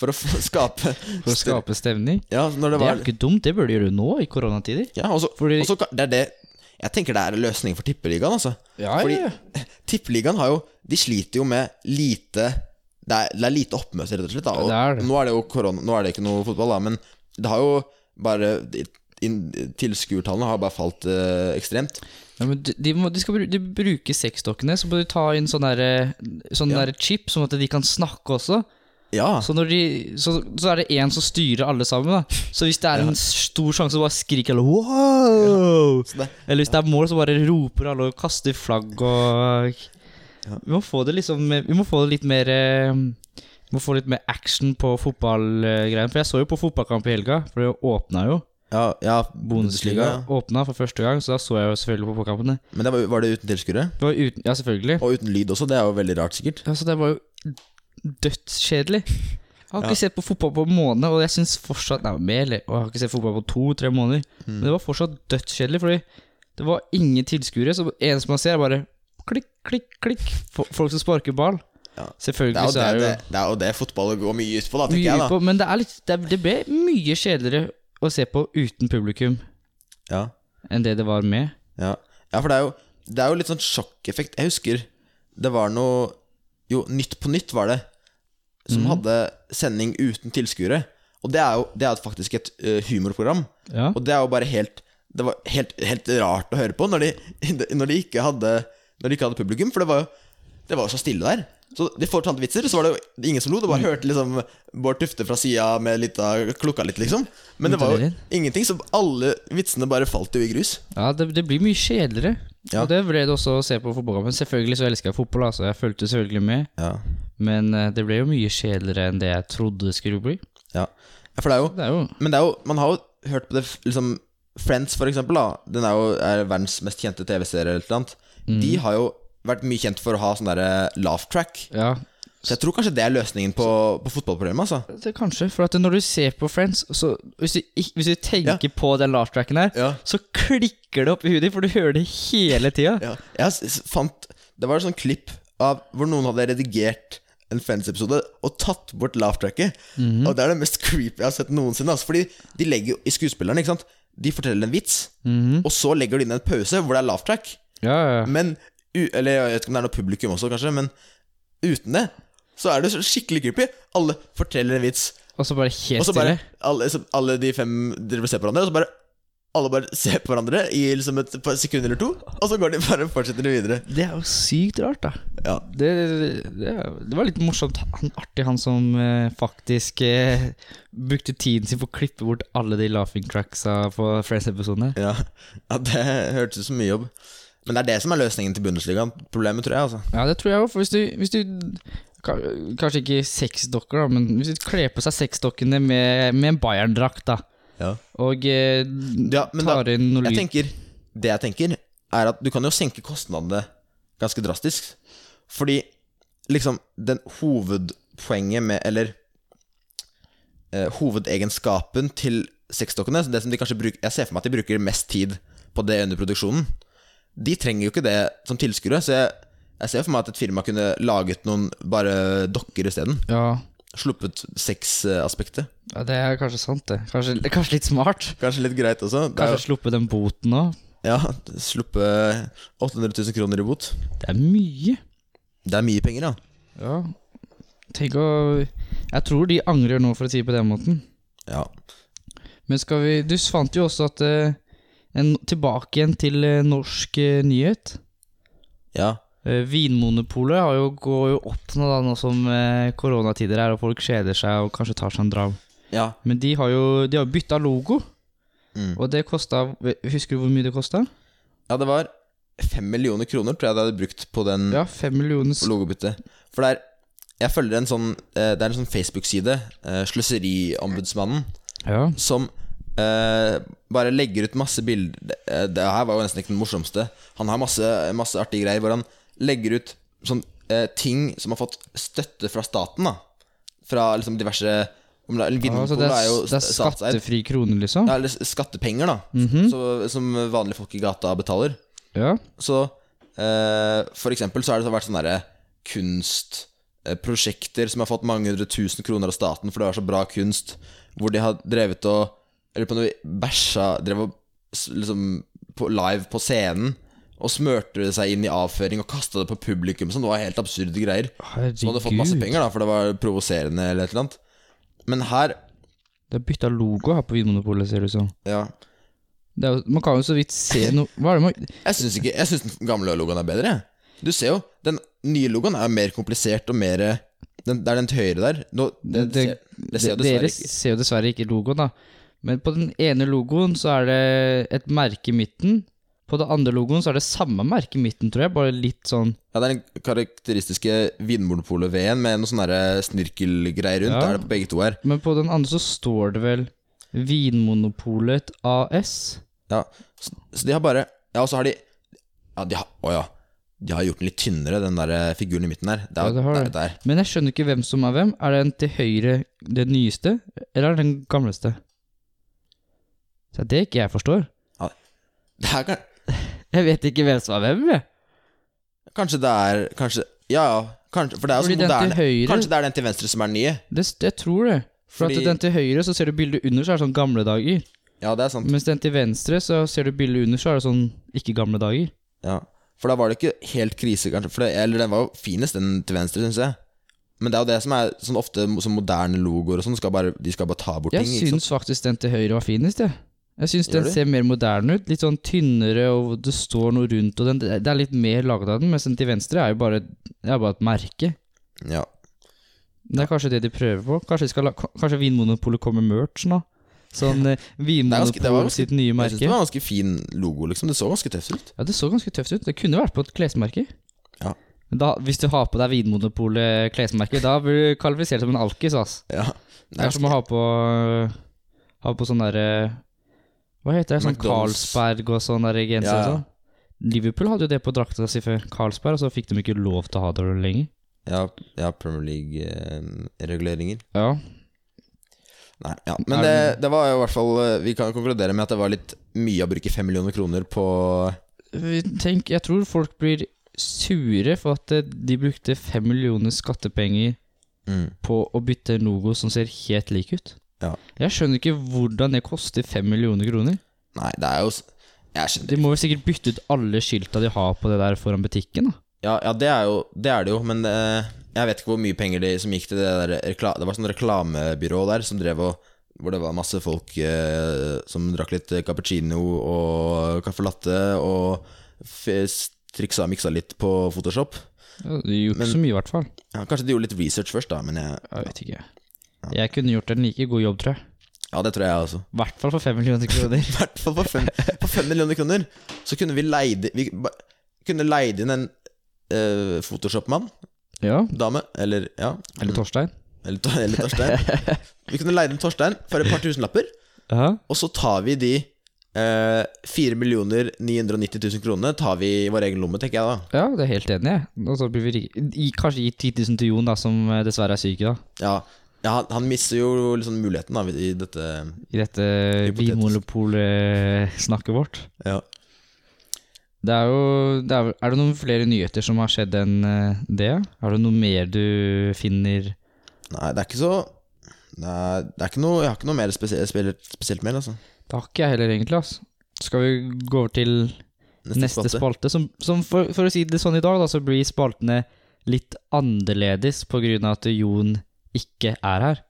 D: For å få- skape
C: For å skape stemning.
D: Ja, når det
C: Det er
D: var
C: jo ikke dumt, det burde du gjøre nå, i koronatider.
D: Ja, og så
C: Fordi-
D: og så kan- Det er det Jeg tenker det er en løsning for tippeligaen, altså.
C: Ja,
D: Fordi Tippeligaen har jo De sliter jo med lite Det er, det er lite oppmøte, rett og slett. Da. Og
C: Det er det.
D: Nå er det jo korona Nå er det ikke noe fotball, da, men det har jo bare de- inn- Tilskuertallene har bare falt eh, ekstremt.
C: Ja, men de, de, må, de skal bruke, de bruker sexdokkene, så må de ta inn sånn derre sånn
D: Ja.
C: derre chip, sånn at de kan snakke også.
D: Ja.
C: Så, når de, så, så er det én som styrer alle sammen. da Så hvis det er en stor sjanse, så bare skriker alle 'wow'.
D: Så det,
C: Eller hvis det er mål, så bare roper alle og kaster flagg og Vi må få det liksom Vi må få det litt mer eh, Vi må få litt mer action på fotballgreiene. For jeg så jo på fotballkamp i helga, for det åpna jo.
D: ja, ja
C: Bundesliga
D: Bundesliga. ja.
C: åpna for første gang, så da så jeg jo selvfølgelig på fotballkampene.
D: Men det var, var det uten tilskuere?
C: Det var uten, ja, selvfølgelig.
D: Og uten lyd også. Det er jo veldig rart, sikkert.
C: Altså, det var jo dødskjedelig. Jeg har ikke sett på fotball på en måned, og jeg synes fortsatt Nei, mer, eller og Jeg har ikke sett fotball på to-tre måneder,
D: Mm.
C: men det var fortsatt dødskjedelig, fordi det var ingen tilskuere. Så det eneste man ser, er bare klikk, klikk, klikk. Fo- Folk som sparker ball.
D: Ja. Det er
C: Selvfølgelig
D: jo
C: så
D: det,
C: er det
D: det,
C: jo
D: det, er jo det fotball går mye ut på, da, tenker
C: mye
D: jeg. da
C: utpå, men det, er litt, det, er- det ble mye kjedeligere å se på uten publikum
D: ja.
C: enn det det var med.
D: Ja. ja, for det er jo Det er jo litt sånn sjokkeffekt. Jeg husker det var noe Jo, Nytt på Nytt var det, som hadde sending uten tilskuere. Og det er jo det er faktisk et eh, humorprogram.
C: Ja.
D: Og det er jo bare helt Det var helt, helt rart å høre på når de, når de ikke hadde Når de ikke hadde publikum, for det var jo Det var jo så stille der. Så de fortalte vitser, og så var det jo ingen som lo. Det bare hørte liksom Bård Tufte fra sida med litt av klokka litt, liksom. Men det var jo ingenting, så alle vitsene bare falt jo i grus.
C: Ja, det, det blir mye kjedeligere.
D: Ja.
C: Og det ble det også å se på fotballkampen. Selvfølgelig så elsker jeg fotball, altså. Jeg fulgte selvfølgelig med.
D: Ja.
C: Men eh, det ble jo mye kjedeligere enn det jeg trodde det skulle bli.
D: Ja, ja for det er jo
C: Det er jo
D: Men det er jo Man har jo hørt på det f- liksom Friends for eksempel da Den er jo er verdens mest kjente tv-serie eller noe annet De har jo vært mye kjent for å ha sånn der laugh track
C: Ja,
D: Så jeg tror kanskje det er løsningen på, på fotballproblemet altså
C: det kanskje. For at når du ser på Friends, så hvis du, ikk- hvis du tenker på den laugh-tracken her,
D: Ja.
C: så klikker det opp i huet ditt, for du hører det hele tida.
D: ja. Jeg s- s- fant Det var et sånt klipp av Hvor noen hadde redigert en Friends-episode og tatt bort laugh tracket. Og det er det mest creepy jeg har sett noensinne. Altså, fordi de legger jo i skuespillerne, ikke sant. De forteller en vits, og så legger de inn en pause hvor det er laugh track.
C: Ja, ja.
D: Men u Eller jeg vet ikke om det er noe publikum også, kanskje, men uten det så er det så skikkelig creepy. Alle forteller en vits,
C: Og så bare
D: og
C: helt
D: så bare
C: stille.
D: alle, så alle de fem dere ser på hverandre, og så bare alle bare ser på hverandre i liksom et par sekunder eller to, og så går de bare og fortsetter videre.
C: Det er jo sykt rart, da.
D: Ja.
C: Det, det, det er- det var litt morsomt. Han, artig, han som eh, faktisk eh, brukte tiden sin på å klippe bort alle de laughing tracksa på Friends-episodene.
D: Ja, ja det hørtes ut som mye jobb. Men det er det som er løsningen til Bundesligaen. Problemet, tror jeg. altså
C: Ja, det tror jeg òg, for hvis du, hvis du ka- Kanskje ikke sexdokker, da, men hvis du kler på seg sexdokkene med, med en Bayern-drakt, da,
D: Ja.
C: og eh,
D: Ja, men da-
C: tar inn noe
D: Jeg
C: lyd
D: tenker, Det jeg tenker, er at du kan jo senke kostnadene ganske drastisk. Fordi liksom den hovedpoenget med Eller eh, hovedegenskapen til sexdokkene Det som de kanskje bruker Jeg ser for meg at de bruker mest tid på det under produksjonen. De trenger jo ikke det som tilskuere, så jeg, jeg ser for meg at et firma kunne laget noen bare dokker isteden.
C: ja,
D: Sluppet sexaspektet.
C: ja, det er kanskje sant, det. Kanskje, det er kanskje litt smart.
D: Kanskje litt greit også. Det er
C: Kanskje sluppe den boten òg.
D: jo- ja, Sluppe 800 000 kroner i bot.
C: Det er mye.
D: Det er mye penger, ja.
C: Ja. Tenk å Jeg tror de angrer nå, for å si det på den måten.
D: Ja,
C: Men skal vi Du fant jo også at eh, en, Tilbake igjen til eh, norsk eh, nyhet.
D: ja.
C: Eh, Vinmonopolet har jo, går jo opp nå, da, nå som eh, koronatider er og folk kjeder seg og kanskje tar seg en dram.
D: ja.
C: Men de har jo de har bytta logo,
D: Mm.
C: og det kosta Husker du hvor mye det kosta?
D: ja det var fem millioner kroner tror jeg det hadde brukt på den
C: Ja, fem millioner
D: på logobyttet. For det er Jeg følger en sånn eh, Det er en sånn Facebook-side, eh, Sløseriombudsmannen,
C: Ja.
D: som eh, bare legger ut masse bilder eh, Det her var jo nesten ikke den morsomste. Han har masse, masse artige greier hvor han legger ut sånn eh, ting som har fått støtte fra staten, da. Fra liksom diverse om det, er-
C: Altså, det
D: Vinmonopolet
C: er,
D: er jo
C: det er Mhm.
D: statseid.
C: skattefri krone, liksom?
D: Ja, eller skattepenger, da. så, som vanlige folk i gata betaler.
C: Ja.
D: Så eh, for eksempel så har det så vært sånne der kunstprosjekter som har fått mange hundre tusen kroner av staten, for det var så bra kunst, hvor de har drevet og Eller på noe bæsja Drev og s- liksom på, live på scenen og smørte seg inn i avføring og kasta det på publikum. Sånn, det var helt absurde greier.
C: Herregud.
D: Så hadde fått masse penger, da, for det var provoserende eller et eller annet. Men her
C: Det er bytta logo her på Vinmonopolet, ser det ut som.
D: Ja.
C: Det er jo, man kan jo så vidt se noe Hva er det man
D: Jeg syns ikke Jeg synes den gamle logoen er bedre. jeg. Du ser jo, den nye logoen er mer komplisert og mer eh, den, Det er den til høyre der. Nå, det,
C: det-
D: ser, det ser jo dessverre
C: Dere
D: ikke
C: ser jo dessverre ikke logoen, da. Men på den ene logoen så er det et merke i midten. På den andre logoen så er det samme merke i midten, tror jeg. Bare litt sånn
D: Ja, Det er den karakteristiske Vinmonopolet-V-en med noe sånn der snirkelgreier rundt.
C: Ja.
D: Er det på begge to her.
C: Men på den andre så står det vel Vinmonopolet AS.
D: Ja, så, så de har bare Ja, og så har de Ja, de har Å ja. De har gjort den litt tynnere, den der eh, figuren i midten her. Det
C: Ja,
D: er,
C: det har
D: det
C: de.
D: er, det er.
C: Men jeg skjønner ikke hvem som er hvem. Er den til høyre den nyeste, eller er den den gamleste? Det er det ikke jeg forstår.
D: Det er kan-
C: Jeg vet ikke hvem som er hvem, jeg.
D: Kanskje det er Kanskje Ja, ja. Kanskje, for det er jo
C: Fordi
D: sånn
C: den til
D: moderne
C: høyre
D: Kanskje det er den til venstre som er den nye.
C: det, Jeg tror det. For
D: Fordi-
C: at den til høyre, så ser du bildet under, så er det sånn gamle dager.
D: Ja, det er sant.
C: Mens den til venstre, så ser du bildet under, så er det sånn ikke gamle dager.
D: Ja, for da var det ikke helt krise, kanskje. For det, eller den var jo finest, den til venstre, syns jeg. Men det er jo det som er sånn ofte mo- sånn moderne logoer og sånn, skal bare- de skal bare ta bort
C: Jeg
D: ting. Ikke sant?
C: syns faktisk den til høyre var finest, jeg. Jeg syns den
D: Gjør du?
C: ser mer moderne ut. Litt sånn tynnere, og det står noe rundt, og den, det er litt mer laget av den. Mens den til venstre er jo bare, det er bare et merke.
D: Ja.
C: Det er kanskje det de prøver på. Kanskje, de skal la, kanskje Vinmonopolet kommer med merch nå? Sånn eh,
D: ganske- det var ganske-
C: Vinmonopolet sitt nye
D: Jeg syns det
C: merke.
D: var en ganske fin logo, liksom. Det så ganske tøft ut.
C: Ja, Det så ganske tøft ut. Det kunne vært på et klesmerke.
D: Ja.
C: Men Da, hvis du har på deg Vinmonopolet-klesmerke, da blir du kvalifisert som en alkis. ass.
D: Ja.
C: Det er som å ha på Ha på sånn derre Hva heter det? Sånn
D: McDonald's.
C: Carlsberg og sånn der genser
D: Ja, ja.
C: og sånn. Liverpool hadde jo det på drakta si før Carlsberg, og så fikk de ikke lov til å ha det lenger.
D: ja, ja Premier League-reguleringer.
C: Ja.
D: Nei, ja. Men
C: Er det-
D: det, det var jo i hvert fall eh, Vi kan konkludere med at det var litt mye å bruke fem millioner kroner på
C: Vi- Tenk, jeg tror folk blir sure for at eh, de brukte fem millioner skattepenger på å bytte en logo som ser helt lik ut.
D: Ja.
C: Jeg skjønner ikke hvordan det koster fem millioner kroner.
D: Nei, det er jo s- Jeg skjønner
C: De må vel sikkert bytte ut alle skilta de har på det der foran butikken, da.
D: Ja, ja det, er jo, det er det jo, men eh, jeg vet ikke hvor mye penger de som gikk til det der rekla Det var sånn reklamebyrå der som drev og Hvor det var masse folk eh, som drakk litt cappuccino og caffè latte og f- triksa og miksa litt på Photoshop.
C: Ja, De gjorde
D: Men-
C: ikke så mye, i hvert fall.
D: Ja, kanskje de gjorde litt research først, da, men jeg,
C: Jeg vet ikke. Jeg kunne gjort en like god jobb, tror jeg.
D: ja, det tror jeg også.
C: I hvert fall for fem millioner kroner.
D: I hvert fall for fem, for fem millioner kroner så kunne vi leid Vi ba- kunne leid inn en eh, Photoshop-mann,
C: ja.
D: dame, eller ja,
C: Eller Torstein.
D: eller, Tor- eller Torstein. Vi kunne leid inn Torstein for et par tusenlapper.
C: Ja.
D: Og så tar vi de eh, 4 990 000 kronene Tar vi i vår egen lomme, tenker jeg da
C: ja, det er helt enig, jeg. Og så blir vi rike. Gi- Kanskje gi 10 000 til Jon, da, som eh, dessverre er syk i dag.
D: Ja, ja han, han mister jo liksom muligheten da i dette
C: I dette
D: Hypotetisk.
C: Vinmonopol-snakket vårt.
D: Ja,
C: Det er jo det er, vel- er det noen flere nyheter som har skjedd enn eh, det? Er det noe mer du finner
D: nei det er ikke så det er, det er ikke noe, jeg har ikke noe mer spesielt, spesielt, spesielt mer altså
C: Det har ikke jeg heller, egentlig. ass. Skal vi gå over til neste, spalte? Som, som for, for å si det sånn i dag, da, så blir spaltene litt annerledes på grunn av at Jon ikke er her.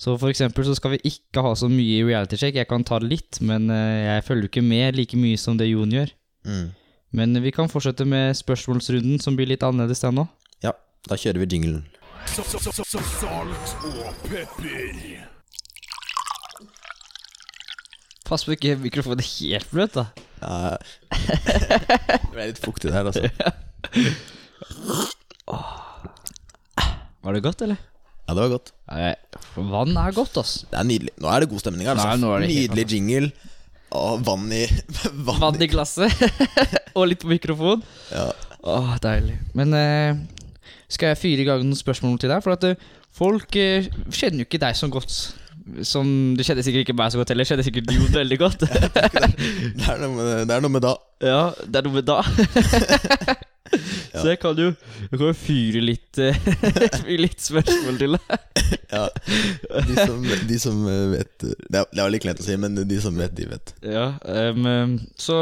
C: Så for eksempel så skal vi ikke ha så mye reality check. Jeg kan ta det litt, men eh, jeg følger ikke med like mye som det Jon gjør.
D: mm.
C: Men vi kan fortsette med spørsmålsrunden, som blir litt annerledes den nå.
D: Ja, da kjører vi jinglen
A: Så- så- så- så- Salt og pepper.
C: Pass på ikke mikrofonen er helt bløt, da.
D: Ja. Det er litt fuktig der altså
C: Var det godt, eller?
D: Ja, det var godt
C: Nei, vann er godt, ass.
D: Det er nydelig Nå er det god stemning her altså
C: Nei, nå er det helt
D: Nydelig jingle Og vann i vann,
C: Vann i glasset og litt på mikrofon.
D: Ja.
C: Åh, deilig. Men eh, skal jeg fyre i gang noen spørsmål til deg? For at eh, folk eh, kjenner jo ikke deg så godt. Som, du kjenner sikkert ikke meg så godt heller, kjenner sikkert Jon veldig godt.
D: det, er noe med, det er noe med da
C: ja, det er noe med da. Så jeg kan jo jeg kan jo fyre litt, eh, fyre litt spørsmål til deg.
D: Ja, de som, de som eh, vet Det er, det er litt kleint å si, men de som vet, de vet.
C: Ja, em, em, så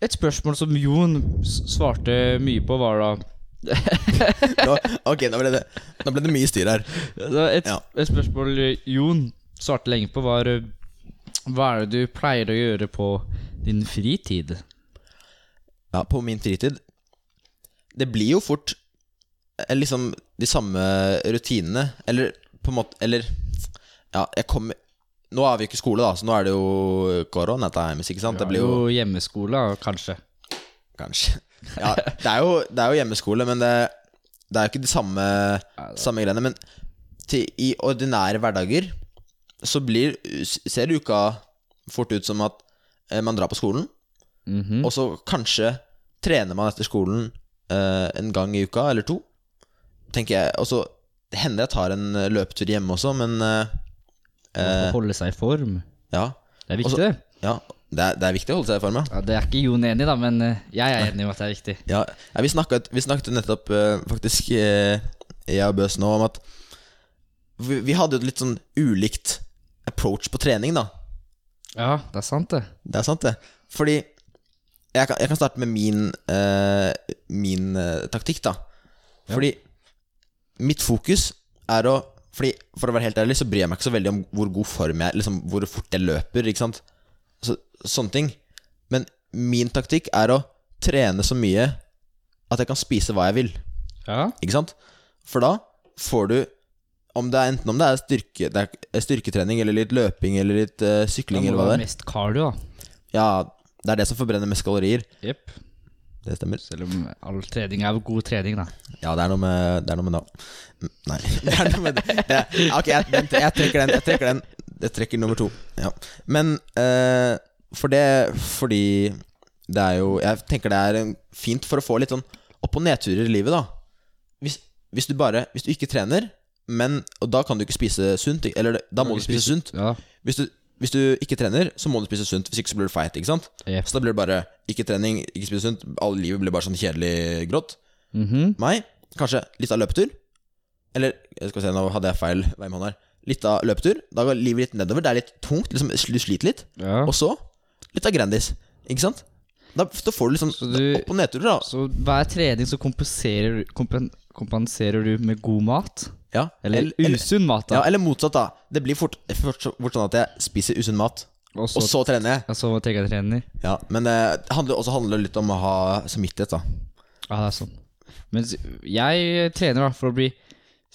C: et spørsmål som Jon s- svarte mye på, var da
D: Nå, ok, nå ble, det, nå ble det mye styr her.
C: Det var et,
D: Ja.
C: et spørsmål eh, Jon svarte lenge på, var eh, Hva er det du pleier å gjøre på din fritid?
D: Ja, på min fritid Det blir jo fort eh, liksom de samme rutinene Eller på en måte Eller Ja, jeg kommer Nå har vi jo ikke skole da Så nå er det jo koronatimes, ikke sant? Det blir jo
C: hjemmeskole, kanskje.
D: Kanskje Ja, det er jo, det er jo hjemmeskole Men det, det er jo ikke de samme Samme greiene Men til, i ordinære hverdager Så blir Ser uka fort ut som at eh, Man drar på skolen
C: Mhm.
D: og så kanskje trener man etter skolen eh, en gang i uka, eller to, tenker jeg. Og så det hender jeg tar en eh, løpetur hjemme også, men eh,
C: Å Holde seg i form.
D: ja.
C: Det er
D: Og så-
C: viktig.
D: ja det, er, det er viktig å holde seg i form, ja.
C: Ja, det er ikke Jon enig i, da, men eh, jeg er enig i at det er viktig.
D: ja ja, vi, snakket, vi snakket jo nettopp, eh, faktisk, eh, jeg og Bøs nå, om at vi, vi hadde jo et litt sånn ulikt approach på trening, da.
C: Ja, det er sant, det.
D: Det er sant, det. Fordi jeg kan, jeg kan starte med min, eh, min eh, taktikk, da. Fordi mitt fokus er å Fordi For å være helt ærlig, så bryr jeg meg ikke så veldig om hvor god form jeg er, liksom hvor fort jeg løper, ikke sant. Så, sånne ting. Men min taktikk er å trene så mye at jeg kan spise hva jeg vil.
C: Ja.
D: Ikke sant? For da får du om det er, Enten om det er, styrke, det er styrketrening eller litt løping eller litt eh,
C: Da
D: sykling
C: må du
D: eller hva
C: ha
D: det er
C: mest cardio, da.
D: Ja, det er det som forbrenner mest kalorier.
C: Jepp.
D: Det stemmer.
C: Selv om all trening er god trening, da.
D: Ja, det er noe med Det er noe med da Mm, Nei. Det er noe med det. det er- ok, jeg, vent, jeg trekker den. Jeg trekker den Jeg trekker nummer to. Ja. Men eh, for det Fordi det er jo Jeg tenker det er en- fint for å få litt sånn opp- og nedturer i livet, da. Hvis, hvis du bare Hvis du ikke trener, men Og da kan du ikke spise sunt. ikke- Eller da må du spise sunt.
C: Ja,
D: Hvis du, hvis du ikke trener, så må du spise sunt. Hvis ikke så blir du feit, ikke sant?
C: Jepp.
D: Så da blir det bare ikke trening, ikke spise sunt. All livet blir bare sånn kjedelig grått.
C: Mhm.
D: Meg, kanskje litt av løpetur. Eller skal vi se, nå hadde jeg feil vei med hånden her. Litt av løpetur. Da går livet litt nedover. Det er litt tungt. Liksom, du sliter litt.
C: ja.
D: Og så litt av Grandis. Ikke sant? Da, da får du liksom
C: Så du-
D: opp- og nedturer, da.
C: Så hver trening så kompenserer, kompen, kompenserer du med god mat?
D: Ja.
C: Eller usunn mat,
D: ja,
C: da.
D: eller motsatt, da. Det blir fort, fort, fort sånn at jeg spiser usunn mat,
C: Og
D: og
C: så,
D: så trener jeg.
C: og så tenker jeg trener.
D: Ja, Men eh, det handler også handler det litt om å ha samvittighet, da.
C: Ja, det er sånn. Men s- jeg trener da for å bli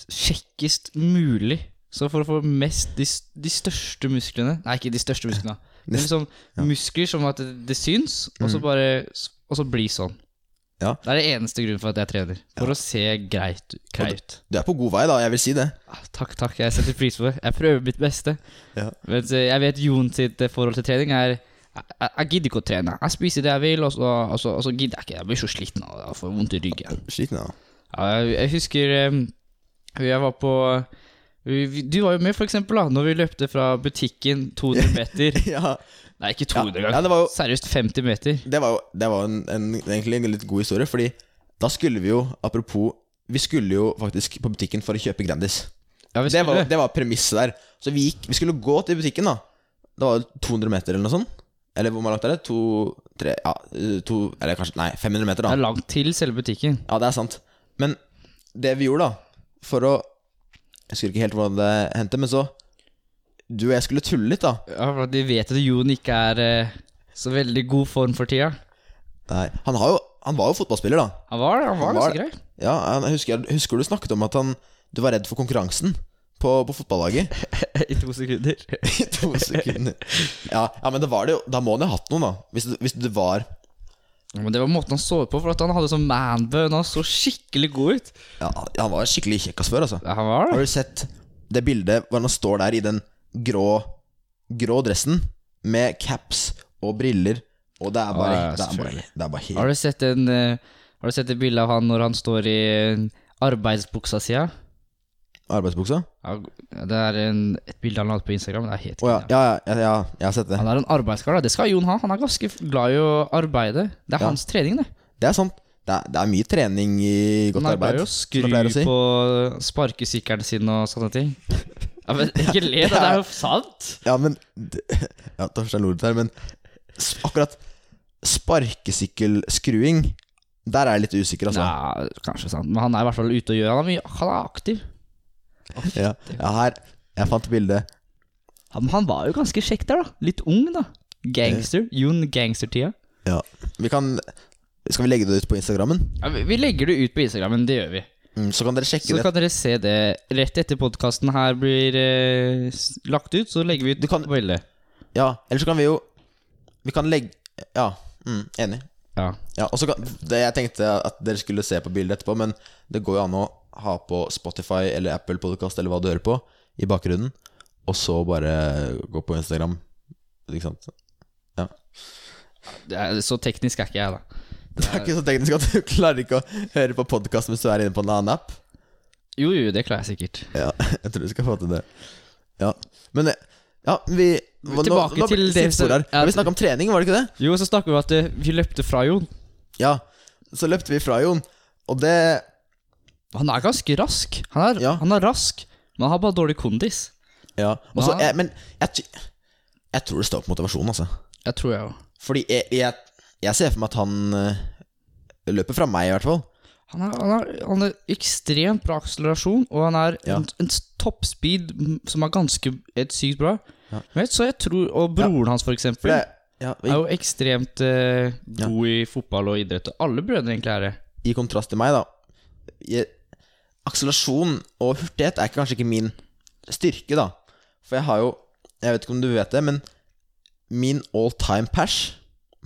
C: kjekkest mulig. Så for å få mest de, s- de største musklene Nei, ikke de største musklene. Men liksom muskler som at det, det syns, og så bare s- Og så bli sånn.
D: Mm. Ja.
C: Det er det eneste grunnen for at jeg trener. For å se greit, grei ut.
D: Du er på god vei, da. Jeg vil si det.
C: Ah, Takk, takk. Jeg setter pris på det. Jeg prøver mitt beste.
D: Ja.
C: Mens eh, jeg vet Jon sitt eh, forhold til trening er jeg, jeg- jeg gidder ikke å trene. Jeg spiser det jeg vil, og så, og så, og så gidder jeg ikke. Jeg blir så sliten av det. Jeg får vondt i ryggen.
D: Sliten, ja.
C: Ja, jeg, jeg husker em, jeg var på vi- vi- Du var jo med, for eksempel, da når vi løpte fra butikken 200 meter.
D: ja.
C: Nei, ikke 200
D: Ja,
C: engang.
D: ja, det var jo-
C: Seriøst 50 meter.
D: Det var jo det var en, en, egentlig en litt god historie, fordi da skulle vi jo, apropos Vi skulle jo faktisk på butikken for å kjøpe Grandis.
C: Ja, vi
D: Det var,
C: skulle.
D: det var premisset der. Så vi gikk Vi skulle gå til butikken, da. Det var jo 200 meter eller noe sånt. Eller hvor langt er det? To, tre, ja, to Eller kanskje Nei, 500 meter,
C: Det er
D: da.
C: langt til selve butikken.
D: Ja, det er sant. Men det vi gjorde, da, for å Jeg husker ikke helt hvordan det hendte, men så Du og jeg skulle tulle litt, da.
C: Ja, for De vet at Jon ikke er eh, så veldig god form for tida.
D: Nei, han, har jo, han var jo fotballspiller, da.
C: Han var det. Han var
D: Han var
C: ganske grei.
D: Ja, jeg husker, jeg husker du snakket om at han, du var redd for konkurransen på, på fotballaget.
C: I to sekunder.
D: I to sekunder. Ja, ja, men det var det jo. Da må han jo ha hatt noen, da. Hvis, det- hvis det var
C: Men det var måten han sov på, for at han hadde sånn manbun. Han så skikkelig god ut.
D: Ja, han var skikkelig kjekkas før, altså.
C: Ja, han var
D: Har
C: det.
D: du sett det bildet hvor han står der i den grå, grå dressen med caps og briller, og det er bare,
C: Ja, ja,
D: det er bare,
C: selvfølgelig.
D: det er bare helt
C: Har du sett en eh, Har du sett et bilde av han når han står i eh, arbeidsbuksa sida?
D: Arbeidsbuksa?
C: Ja, det er en, et bilde han la ut på Instagram. Det er helt
D: Å ja,
C: genialt.
D: ja, ja, ja, ja, jeg har sett det.
C: Han er en arbeidskar. da. Det skal Jon ha. Han er ganske glad i å arbeide. Det er
D: Ja.
C: hans trening, det.
D: Det er sant. Det er, det er mye trening i godt
C: han
D: arbeid.
C: arbeider jo å
D: som
C: skru
D: jeg pleier å si.
C: på eh, sparkesykkelen sin og sånne ting. Ja, men Ikke le, da. Det er jo sant.
D: Ja, men d- Ja, ta først en lort her, men s- akkurat sparkesykkelskruing Der er jeg litt usikker, altså.
C: Nei, kanskje sant. Men han er i hvert fall ute og gjør. Han er, mye, han er aktiv.
D: Ja, ja her Jeg fant bildet.
C: Han, han var jo ganske kjekk der, da. Litt ung, da. Gangster. Jon Gangster-tida.
D: Ja. Vi kan Skal vi legge det ut på Instagrammen?
C: Ja, vi- vi legger det ut på Instagrammen, det gjør vi.
D: Mm, så kan dere sjekke
C: Så
D: det.
C: kan dere se det rett etter podkasten her blir eh, s- lagt ut. Så legger vi ut
D: Du kan-
C: på bildet.
D: Ja, eller så kan vi jo Vi kan legge Ja, mm, enig.
C: Ja.
D: Ja, og så kan, det, jeg tenkte at dere skulle se på bildet etterpå, men det går jo an å ha på Spotify eller Apple Podcast eller hva du hører på, i bakgrunnen, og så bare gå på Instagram. Ikke sant?
C: Det er, så teknisk er ikke jeg, da.
D: Det er ikke så teknisk at du klarer ikke å høre på podkast mens du er inne på en annen app.
C: Jo, jo, det klarer jeg sikkert.
D: Ja, jeg tror du skal få til det. Ja, men eh, ja, vi hva-
C: Tilbake
D: nå, nå,
C: til det som-
D: som
C: ja,
D: Vi snakka om trening, var det ikke det?
C: Jo, så snakker vi om at eh, vi løpte fra Jon.
D: Ja. Så løpte vi fra Jon, og det
C: Han er ganske rask. Han er,
D: Ja.
C: han er rask, men han har bare dårlig kondis.
D: Ja, og så,
C: Ja.
D: jeg, men jeg, t- jeg tror det står på motivasjon, altså.
C: Jeg tror jeg òg.
D: Fordi jeg, jeg, jeg ser for meg at han eh, løper fra meg, i hvert fall.
C: Han har, han, har, han har ekstremt bra akselerasjon, og han er
D: Ja.
C: en, en toppspeed m- som er ganske helt sykt bra.
D: Ja.
C: Vet, så jeg tror, Og broren hans, for eksempel,
D: For det, ja,
C: er
D: i,
C: jo ekstremt eh, god i fotball og idrett. Og alle brødre egentlig er det.
D: I kontrast til meg, da. Jeg, akselerasjon og hurtighet er kanskje ikke min styrke, da. For jeg har jo Jeg vet ikke om du vet det, men min all time pers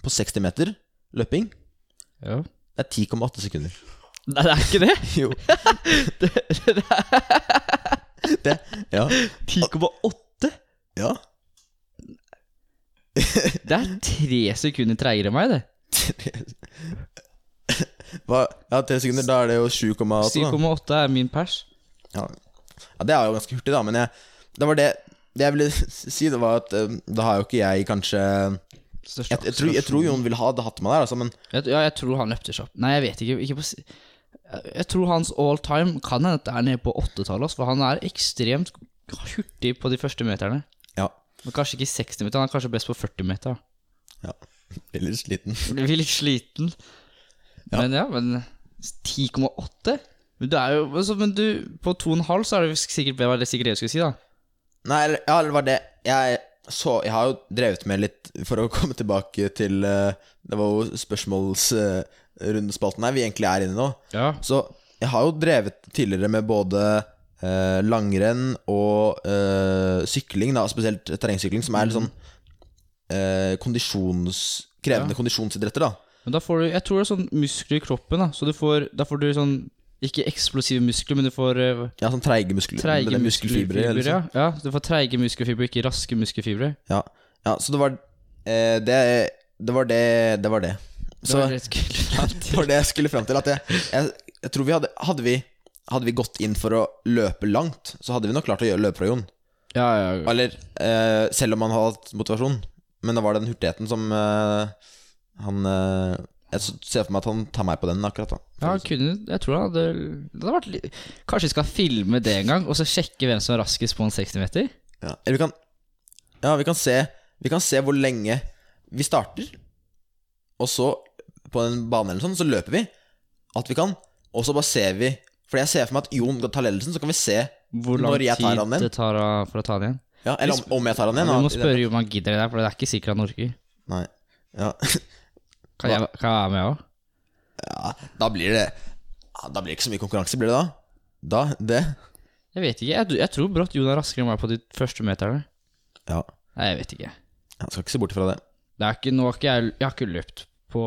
D: på 60 meter løping,
C: Ja.
D: det er 10,8 sekunder.
C: Nei, det er ikke det!
D: Jo. det, ja.
C: 10,8!
D: ja.
C: Det er tre sekunder treigere enn meg, det.
D: Hva, ja, tre sekunder, da er det jo 7,8 da.
C: 7,8 er min pers.
D: Ja. ja, det er jo ganske hurtig da, men jeg, det var det, det jeg ville si, det var at eh, da har jo ikke jeg kanskje Jeg,
C: Største
D: jeg, tror, jeg tror Jon ville ha det hatt med der, altså, men
C: Jeg, ja, jeg tror han løpte kjapt. Nei, jeg vet ikke. ikke på, si- jeg jeg tror hans all time kan hende at det er nede på åttetallet, ass, for han er ekstremt hurtig på de første meterne.
D: ja.
C: Men kanskje ikke 60 meter, han er kanskje best på 40 meter. da.
D: ja. Veldig sliten.
C: Blir litt sliten. Men ja, men 10,8? Men du er jo altså, Men du, på 2,5 så er det sikkert det var det sikkert det jeg skulle si, da.
D: Nei, eller- ja, eller var det jeg, så, jeg har jo drevet med litt For å komme tilbake til eh, Det var jo spørsmålsrundespalten her vi egentlig er inne i nå.
C: Ja.
D: Så jeg har jo drevet tidligere med både eh, langrenn og eh, sykling, da, spesielt terrengsykling, som
C: Mm.
D: er litt sånn eh, kondisjons, krevende kondisjonsidretter. da
C: Men da får du Jeg tror det er sånn muskler i kroppen, da. Så du får Da får du sånn Ikke eksplosive muskler, men du får eh,
D: Ja, sånn treige muskler.
C: Treige
D: eller
C: muskelfibre,
D: eller
C: ja.
D: sånn.
C: ja. Du får treige muskelfibre, ikke raske muskelfibre.
D: ja. ja, så det var eh, det, det var det Det var det.
C: Det
D: Så
C: var rett kult.
D: det var det jeg skulle fram til. At jeg, jeg, jeg tror vi hadde, hadde vi hadde vi gått inn for å løpe langt, så hadde vi nok klart å gjøre løpe fra Jon.
C: ja, ja.
D: Eller eh, selv om han hadde hatt motivasjon. Men da var det den hurtigheten som eh, han eh, Jeg s- ser for meg at han tar meg på den akkurat, da.
C: ja han kunne, jeg tror han hadde det hadde vært litt, Kanskje vi skal filme det en gang, og så sjekke hvem som er raskest på en 60 meter?
D: Ja. Eller vi kan Ja, vi kan se Vi kan se hvor lenge vi starter, og så på en bane eller sånn, så løper vi alt vi kan, og så bare ser vi For jeg ser for meg at Jon tar ledelsen, så kan vi se
C: Hvor lang
D: Når jeg tar han
C: tid
D: igjen?
C: det tar han- for å ta den igjen?
D: Ja, Eller om, om jeg tar han igjen.
C: vi
D: da.
C: må spørre om han gidder det der, for det er ikke sikkert han orker.
D: Nei. Ja.
C: Kan jeg, kan jeg være med òg?
D: ja, da blir det ja, Da blir det ikke så mye konkurranse, blir det da? Da, det
C: Jeg vet ikke. Jeg, jeg tror brått Jon er raskere enn meg på de første meterne.
D: Ja.
C: Nei, jeg vet ikke.
D: Jeg skal ikke se bort fra det.
C: Det er ikke, nå har ikke jeg, jeg har ikke løpt på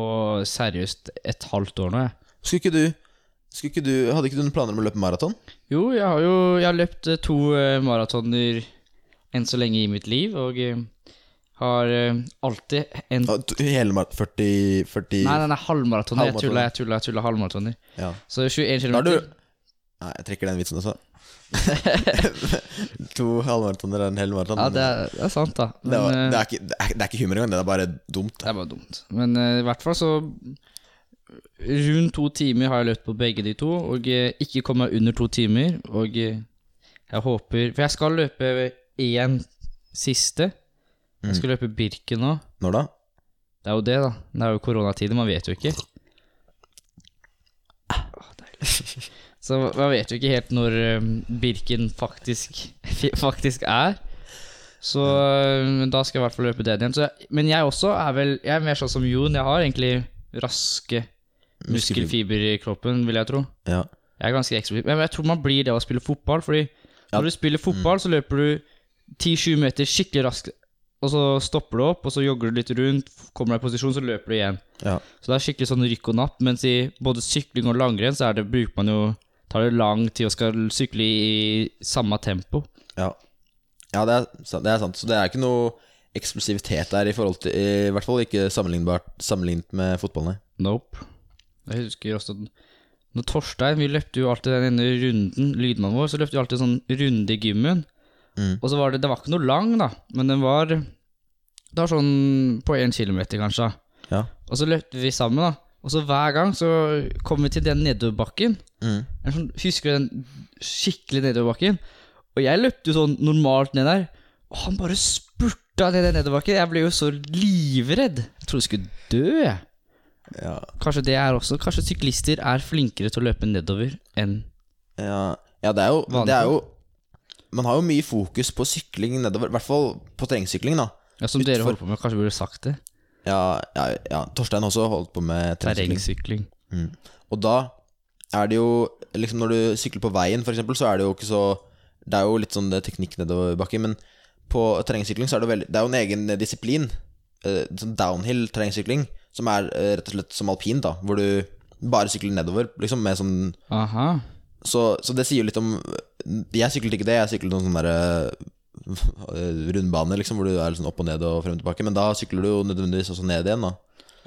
C: seriøst et halvt år nå, jeg.
D: Skulle ikke du, skulle ikke du Hadde ikke du noen planer om å løpe maraton?
C: Jo, jeg har jo jeg har løpt eh, to eh, maratoner enn så lenge i mitt liv, og eh, har eh, alltid en
D: Ja, to- Hele maraton 40, 40
C: Nei, nei, nei, halvmaratoner. Jeg
D: Halvmaratoner.
C: tulla, jeg tulla, jeg tulla halvmaratoner.
D: Ja.
C: Så 21 km.
D: Da er du Nei, jeg trekker den vitsen også. to halvmaratoner er en hel maraton.
C: Ja,
D: men
C: det er, det er sant, da.
D: det, var,
C: Men,
D: det,
C: eh,
D: er ikke, det, er, det er ikke humor engang, det er bare dumt.
C: det er bare dumt. Men eh, i hvert fall så Rundt to timer har jeg løpt på begge de to, og eh, ikke kommet meg under to timer. Og eh, jeg håper For jeg skal løpe én siste. Jeg
D: Mm.
C: skal løpe Birken nå.
D: Når da?
C: Det er jo det, da. Det er jo koronatider, man vet jo ikke. Åh, deilig. Så man vet jo ikke helt når eh, Birken faktisk, faktisk er. Så øh, men da skal jeg i hvert fall løpe den igjen. Så, jeg- men jeg også er vel Jeg er mer sånn som Jon. Jeg har egentlig raske muskelfiber i kroppen, vil jeg tro.
D: Ja.
C: Jeg er ganske eksplosiv. Men jeg tror man blir det av å spille fotball. Fordi
D: Ja.
C: når du spiller fotball, så løper du 10-20 meter skikkelig raskt. Og så stopper du opp, og så jogger du litt rundt, f- kommer deg i posisjon, så løper du igjen.
D: Ja.
C: Så det er skikkelig sånn rykk og napp. Mens i både sykling og langrenn, så er det, bruker man jo Tar det lang tid og skal sykle i samme tempo.
D: Ja, ja det, er, sant- det er sant. Så det er ikke noe eksplosivitet der, i, forhold til, i hvert fall ikke sammenlignbart sammenlignet med fotballen. nei.
C: Nope. Jeg husker også Når Torstein Vi løpte jo alltid den ene runden, lydmannen vår, så løpte vi alltid en sånn runde i gymmen.
D: Mm.
C: Og så var det Det var ikke noe lang, da, men den var Det var sånn på én kilometer, kanskje.
D: Ja.
C: Og så løpte vi sammen, da. Og så hver gang så kom vi til den nedoverbakken.
D: Mm.
C: Jeg sånn, husker du den skikkelig nedoverbakken. Og jeg løpte jo sånn normalt ned der. Og han bare spurta ned den nedoverbakken. Jeg ble jo så livredd. Jeg trodde jeg skulle dø. jeg.
D: Ja.
C: Kanskje det er også Kanskje syklister er flinkere til å løpe nedover enn
D: Ja, ja det, er jo,
C: Vanlig.
D: det er jo Man har jo mye fokus på sykling nedover, i hvert fall på terrengsykling, da.
C: Ja, som dere holder på med. Kanskje burde sagt det.
D: Ja, ja, ja, Torstein også holdt på med terrengsykling.
C: Terrengsykling.
D: Mm. Og da er det jo liksom Når du sykler på veien, for eksempel, så er det jo ikke så Det er jo litt sånn det er teknikk nedoverbakke, men på terrengsykling så er det, veldig, det er jo en egen disiplin. eh, Sånn downhill terrengsykling, som er eh, rett og slett som alpin, da. Hvor du bare sykler nedover, liksom, med sånn
C: Aha.
D: så, så det sier jo litt om Jeg syklet ikke det, jeg syklet noen sånne der eh, rundbane, liksom, hvor du er litt sånn opp og ned og frem og tilbake, men da sykler du jo nødvendigvis også ned igjen, da.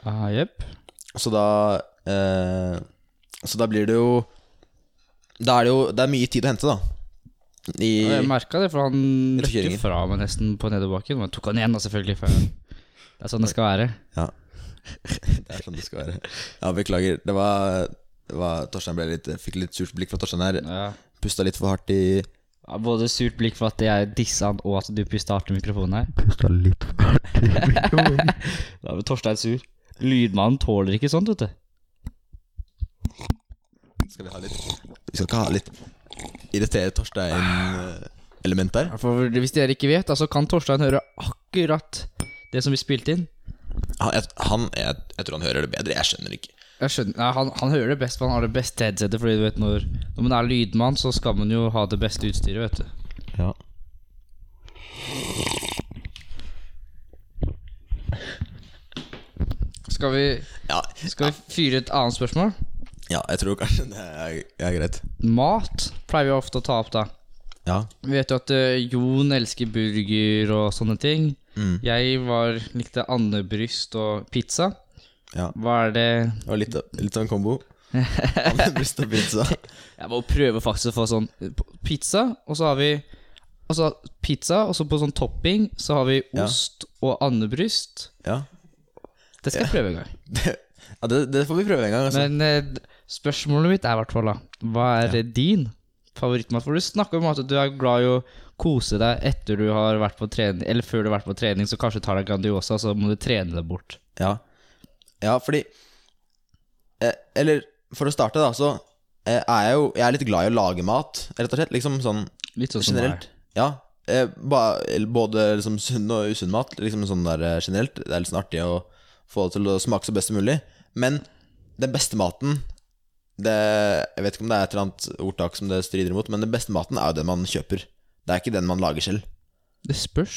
C: Ah, jepp.
D: Så da eh, Så da blir det jo Da er det jo Det er mye tid å hente, da.
C: Og Jeg
D: I
C: merka det, for han løp jo
D: Kjøringen.
C: fra meg nesten på nedoverbakken. Men jeg tok han igjen, da, selvfølgelig. For det er sånn det skal være.
D: Ja. Det er sånn det skal være. Ja, beklager. Det var, det var Torstein ble litt fikk litt surt blikk fra Torstein her.
C: Ja.
D: Pusta litt for hardt i
C: Ja, Både surt blikk for at jeg dissa han, og at du pusta hardt i mikrofonen her. Pusta litt Da ble Torstein sur. Lydmannen tåler ikke sånt, vet du.
D: Skal vi ha litt Vi skal ikke ha litt irritere Torstein-element der?
C: Ja, For hvis dere ikke vet, da, så kan Torstein høre akkurat det som blir spilt inn.
D: Han, jeg, han jeg, jeg tror han hører det bedre. Jeg skjønner ikke.
C: Jeg skjønner, nei, han, han hører det best, for han har det beste headsetet. Fordi du vet når, når man er lydmann, så skal man jo ha det beste utstyret, vet du.
D: Ja.
C: Skal vi,
D: Ja,
C: skal vi fyre et annet spørsmål?
D: jeg tror kanskje det er, er greit.
C: Mat pleier vi ofte å ta opp, da.
D: Ja.
C: Vi vet jo at eh, Jon elsker burger og sånne ting.
D: Mm.
C: Jeg var, likte andebryst og pizza.
D: Ja.
C: Hva er det
D: Det var litt, av- litt av en kombo. Bryst og pizza.
C: Jeg må prøve faktisk å få sånn pizza, og så har vi og så pizza, og så på sånn topping så har vi
D: Ja.
C: ost og andebryst.
D: Ja,
C: Det skal jeg prøve en gang.
D: ja det, det får vi prøve en gang. Altså.
C: Men eh, d- spørsmålet mitt er i hvert fall da Hva er din favorittmat? For du snakker om at du er glad i å kose deg etter du har vært på trening, eller før du har vært på trening, så kanskje du tar deg Grandiosa, så må du trene deg bort.
D: Ja. ja, fordi eh, Eller for å starte, da, så eh, er jeg jo Jeg er litt glad i å lage mat, rett og slett. Liksom sånn
C: Litt sånn som
D: generelt. Ja. Eh, ba, eller både liksom sunn og usunn mat. Liksom sånn der eh, generelt Det er litt sånn artig å få det til å smake så best som mulig. Men den beste maten det, Jeg vet ikke om det er et eller annet ordtak som det strider imot, men den beste maten er jo den man kjøper. Det er ikke den man lager selv.
C: Det spørs.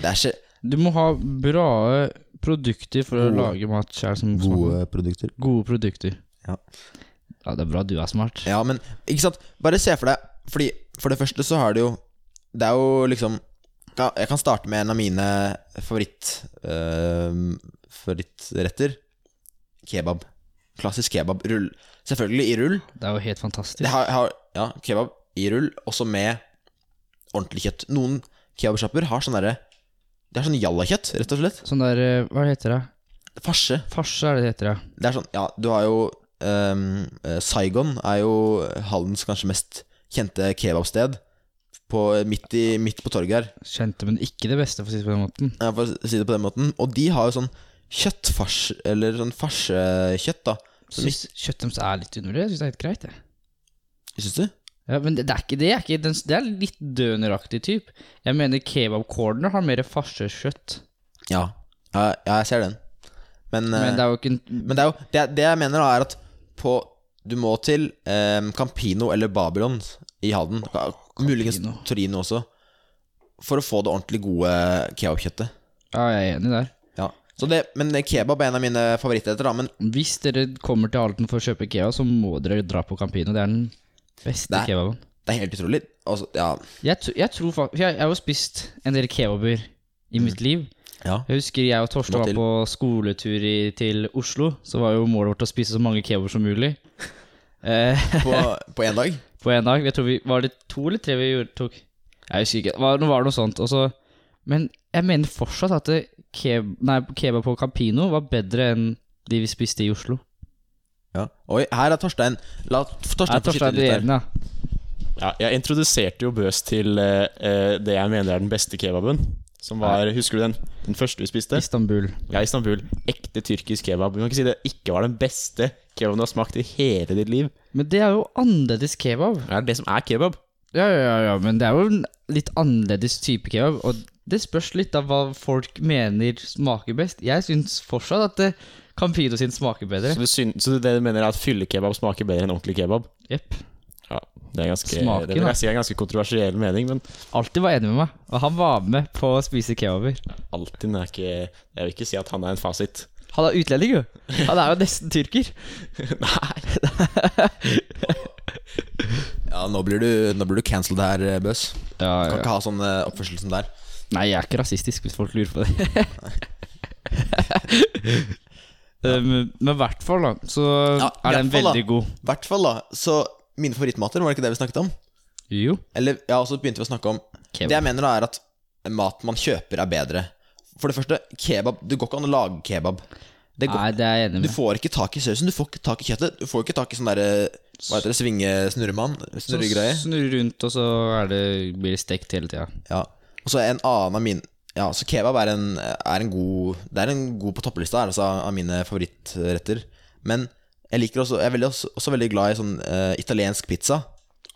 D: Det er ikke
C: Du må ha bra produkter for
D: Gode.
C: å lage mat sjøl som smaker.
D: produkter.
C: Gode produkter.
D: Ja.
C: Ja, det er bra du er smart.
D: Ja, men ikke sant Bare se for deg Fordi for det første så har det jo Det er jo liksom ja, Jeg kan starte med en av mine favoritt eh, Favorittretter Kebab Klassisk kebab Rull Selvfølgelig i rull
C: Det er jo helt fantastisk.
D: Det har, har, Ja, kebab i rull Også med ordentlig kjøtt Noen kebabshopper har sånn derre Det er sånn jallakjøtt, rett og slett
C: Sånn der, eh, hva heter det?
D: Farse
C: Farse er det det heter, ja.
D: Det er sånn, ja, du har jo ehm, eh, Saigon er jo Hallens kanskje mest kjente kebabsted på, midt, i, midt på torget her
C: Kjente, men ikke det beste, for å si det på den måten.
D: ja, For å si det på den måten Og de har jo sånn kjøttfars Eller sånn farsekjøtt da Som
C: Syns kjøttet deres er litt underlig. Jeg syns det er helt greit, jeg.
D: Synes du?
C: Ja, men det, det er ikke det. Er ikke, den, det er litt døneraktig type. Jeg mener kebab corner har mer farsekjøtt.
D: Ja, ja jeg ser den. Men, eh,
C: Men det er jo ikke en
D: Men det er jo Det, det jeg mener da er at på Du må til eh, Campino eller Babylon i Halden. Ka- Muligens Torino også. For å få det ordentlig gode kebabkjøttet.
C: Ja, jeg er enig der.
D: Ja. Så det, men kebab er en av mine favorittretter, da. Men
C: Hvis dere kommer til Halden for å kjøpe kebab, så må dere dra på Campino. Det er den beste
D: Nei.
C: kebaben.
D: det er helt utrolig. Altså, ja.
C: Jeg, tro- jeg tror faktisk Jeg jeg har jo spist en del kebaber i
D: Mm.
C: mitt liv.
D: ja.
C: Jeg husker jeg og Torstein
D: Må
C: var
D: til.
C: på skoletur i, til Oslo. Så var jo målet vårt å spise så mange kebaber som mulig. Eh,
D: På, på én dag.
C: på en dag. Jeg tror vi, var det to eller tre vi gjorde, tok? Jeg husker ikke. Det var, nå var det noe sånt. Og så, men jeg mener fortsatt at det keb, nei, kebab på Campino var bedre enn de vi spiste i Oslo.
D: Ja. Oi, her er Torstein. La Torstein
C: Er
D: få skyte
C: Torstein du
D: litt her.
C: enig, da?
E: Ja, jeg introduserte jo Bøs til eh, eh, det jeg mener er den beste kebaben. Som var, Husker du den, den første vi spiste?
C: Istanbul.
E: Ja, Istanbul. Ekte tyrkisk kebab. Du kan ikke si det ikke var den beste kebaben du har smakt i hele ditt liv.
C: Men det er jo annerledes kebab.
E: Det er det som er kebab.
C: Ja, ja, ja, ja, men det er jo en litt annerledes type kebab. Og det spørs litt av hva folk mener smaker best. Jeg syns fortsatt at det, Campino sin smaker bedre.
E: Så, du syn, så det du mener er at fyllekebab smaker bedre enn ordentlig kebab?
C: Jepp.
E: Ja, Det er ganske,
C: Smaken,
E: det vil
C: da.
E: jeg si er en ganske kontroversiell mening, men
C: Alltid var enig med meg. Og han var med på å spise kebaber.
E: Altinn er ikke Jeg vil ikke si at han er en fasit.
C: Han er utlending, jo. Han er jo nesten tyrker.
E: Nei.
D: Ja, nå blir du, nå blir du cancelled her, eh, Bøs.
C: Ja,
D: Kan
C: ja.
D: ikke ha sånn eh, oppførsel som der.
C: Nei, jeg er ikke rasistisk, hvis folk lurer på det. Eh, Men men i hvert fall, da, så
D: Ja, i
C: er den
D: hvert fall, da.
C: veldig god.
D: I hvert fall, da. Så mine favorittmater, var det ikke det vi snakket om?
C: Jo.
D: Eller, ja, og så begynte vi å snakke om
C: Kebab.
D: Det jeg mener da er at mat man kjøper er bedre. For det første, kebab Det går ikke an å lage kebab. Det går,
C: Nei, det er jeg enig
D: du
C: med.
D: får ikke tak i sausen, du får ikke tak i kjøttet. Du får ikke tak i sånn derre Hva heter det, svingesnurremann?
C: Så
D: Snurregreie.
C: snurrer rundt, og så er det, blir det stekt hele tida.
D: Ja. Og så en annen av mine Ja, så kebab er en, er en god Det er en god på topplista, er altså av mine favorittretter. Men jeg liker også Jeg er veldig, også, også veldig glad i sånn eh, italiensk pizza.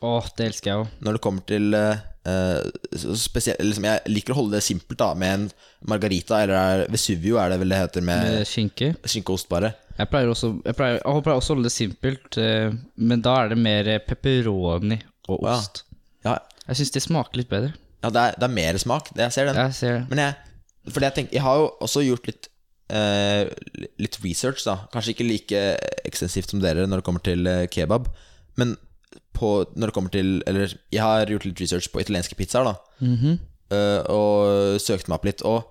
C: Åh, det elsker jeg òg.
D: Når det kommer til eh, eh, så spesielt, liksom, Jeg liker å holde det simpelt da med en margarita, eller er, Vesuvio er det vel det heter, med
C: Skinke.
D: skinkeost bare.
C: Jeg pleier også Jeg pleier, jeg pleier også å holde det simpelt, eh, men da er det mer eh, pepperoni og
D: ja.
C: ost.
D: Ja,
C: Jeg syns det smaker litt bedre.
D: ja det, er, det er mer smak. Det, jeg ser den.
C: Jeg ser det.
D: Men jeg Fordi jeg tenker Jeg har jo også gjort litt eh, Litt research, da. Kanskje ikke like ekstensivt som dere når det kommer til eh, kebab, men på, når det kommer til Eller jeg har gjort litt research på italienske pizzaer, da. Eh, og søkte meg opp litt. Og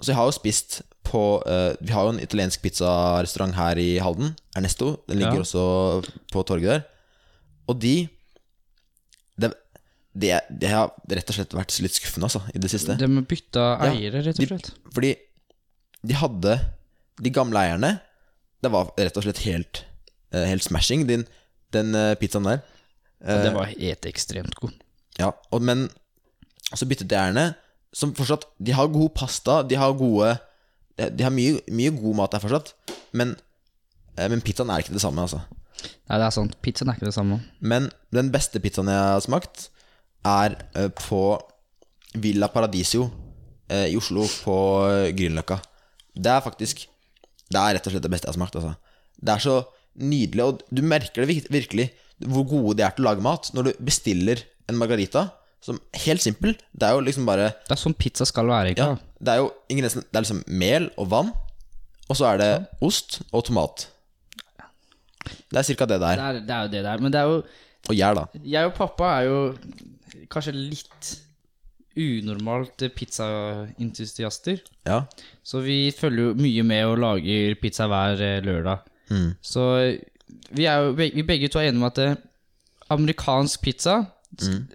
D: så jeg har jo spist på eh, Vi har jo en italiensk pizzarestaurant her i Halden, Ernesto. Den ligger
C: Ja.
D: også på torget der. Og de Det, det, det har rett og slett vært litt skuffende, altså, i det siste.
C: De har bytta
D: Ja,
C: eiere, rett
D: de-
C: og slett.
D: Fordi de hadde De gamle eierne Det var rett og slett helt eh, Helt smashing Den, den eh, pizzaen der eh.
C: Og det var helt ekstremt god.
D: Ja og, Men så byttet de eierne Som fortsatt De har god pasta De har gode De, de har mye, mye god mat der fortsatt Men eh, Men pizzaen er ikke det samme altså
C: Nei, det er sant. Pizzaen er ikke det samme.
D: Men den beste pizzaen jeg har smakt, er eh, på Villa Paradisio eh, i Oslo, på eh, Grünerløkka. Det er faktisk Det er rett og slett det beste jeg har smakt. Altså. Det er så nydelig, og du merker det vir- virkelig hvor gode de er til å lage mat når du bestiller en margarita. Som helt simpel. Det er jo liksom bare
C: Det er sånn pizza skal være,
D: ja,
C: egentlig. da.
D: Det er jo ingrediensene Det er liksom mel og vann, og så er det ost og tomat. Det er cirka det det
C: Det
D: er.
C: er, det er jo det der. Men det er jo
D: Og gjær, da.
C: Jeg og pappa er jo kanskje litt unormalt pizzaentusiaster.
D: Ja.
C: Så vi følger jo mye med og lager pizza hver eh, lørdag. Så vi er jo beg- vi begge to er enige om at eh, amerikansk pizza kall,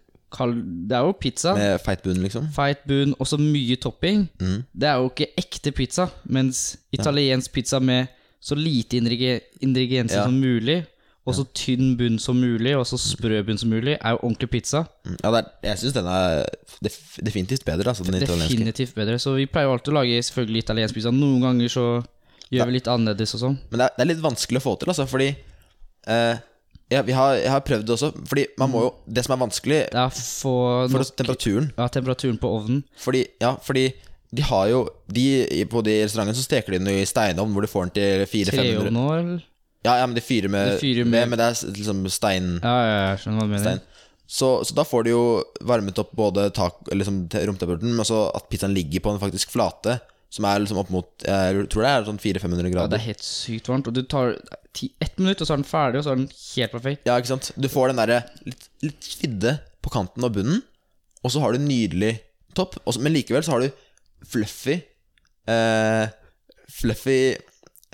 C: Mm. Det er jo pizza.
D: Med feit bunn, liksom.
C: Feit bunn, også mye topping.
D: Mm.
C: Det er jo ikke ekte pizza, mens italiensk pizza med så lite ingredi- ingredienser
D: Ja.
C: som mulig, og så tynn bunn som mulig, og så sprø bunn som mulig, er jo ordentlig pizza.
D: Ja, det er, jeg syns den er def- definitivt bedre, altså, den italienske.
C: Definitivt bedre. Så vi pleier jo alltid å lage selvfølgelig italiensk pizza. Noen ganger så gjør vi litt annerledes og sånn.
D: Men det er, det er litt vanskelig å få til, altså, fordi eh, ja, vi har, jeg har prøvd det også. Fordi man må jo Det som er vanskelig
C: Det er for,
D: for oss, temperaturen
C: ja, temperaturen på ovnen.
D: Fordi, ja, fordi de har jo de, i- På de restaurantene så steker de den jo i steinovn, hvor du får den til 400-500
C: Treovn nå, eller?
D: Ja, ja, men de fyrer med,
C: De fyrer
D: med,
C: med-
D: Men det er s- liksom stein,
C: Ja, ja, jeg skjønner hva du mener.
D: stein. Så, så da får du jo varmet opp både tak, eller liksom te- romtemperaturen, men også at pizzaen ligger på en faktisk flate, som er liksom opp mot Jeg tror det er sånn 400-500
C: Ja, det
D: grader.
C: er helt sykt varmt. Og du tar ti, ett minutt, og så er den ferdig, og så er den helt perfekt.
D: Ja, ikke sant? Du får den derre litt, litt svidde på kanten og bunnen, og så har du nydelig topp, og så- men likevel så har du fluffy eh, Fluffy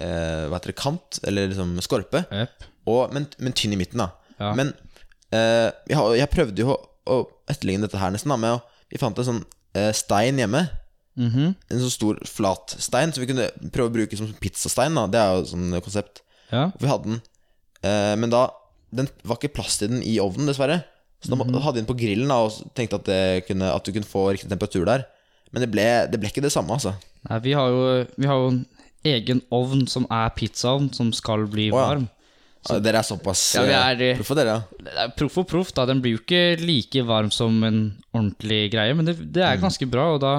D: eh, Hva heter det? Kant, eller liksom skorpe,
C: Jep.
D: og, men, men tynn i midten, da.
C: Ja.
D: Men eh, jeg, har- jeg prøvde jo å, å etterligne dette her nesten, da, med å Vi fant en sånn eh, stein hjemme.
C: Mhm.
D: En sånn stor, flat stein som vi kunne prøve å bruke som pizzastein. da Det er jo sånn konsept.
C: Ja.
D: Vi hadde den eh, Men da Den var ikke plass til den i ovnen dessverre Så da
C: Mhm.
D: må- hadde vi den på grillen da Og s- tenkte at, det kunne, at du kunne få riktig temperatur der Men det ble, det ble ikke det samme altså
C: Nei, vi har jo, vi har jo en egen ovn som er pizzaovn, som skal bli
D: ja.
C: varm.
D: Ah, Dere er såpass
C: Ja, vi
D: eh,
C: er-
D: Hvorfor dere? ja?
C: Det er Proff og proff, da. Den blir jo ikke like varm som en ordentlig greie, men det, det
D: Mm.
C: er ganske bra, og da,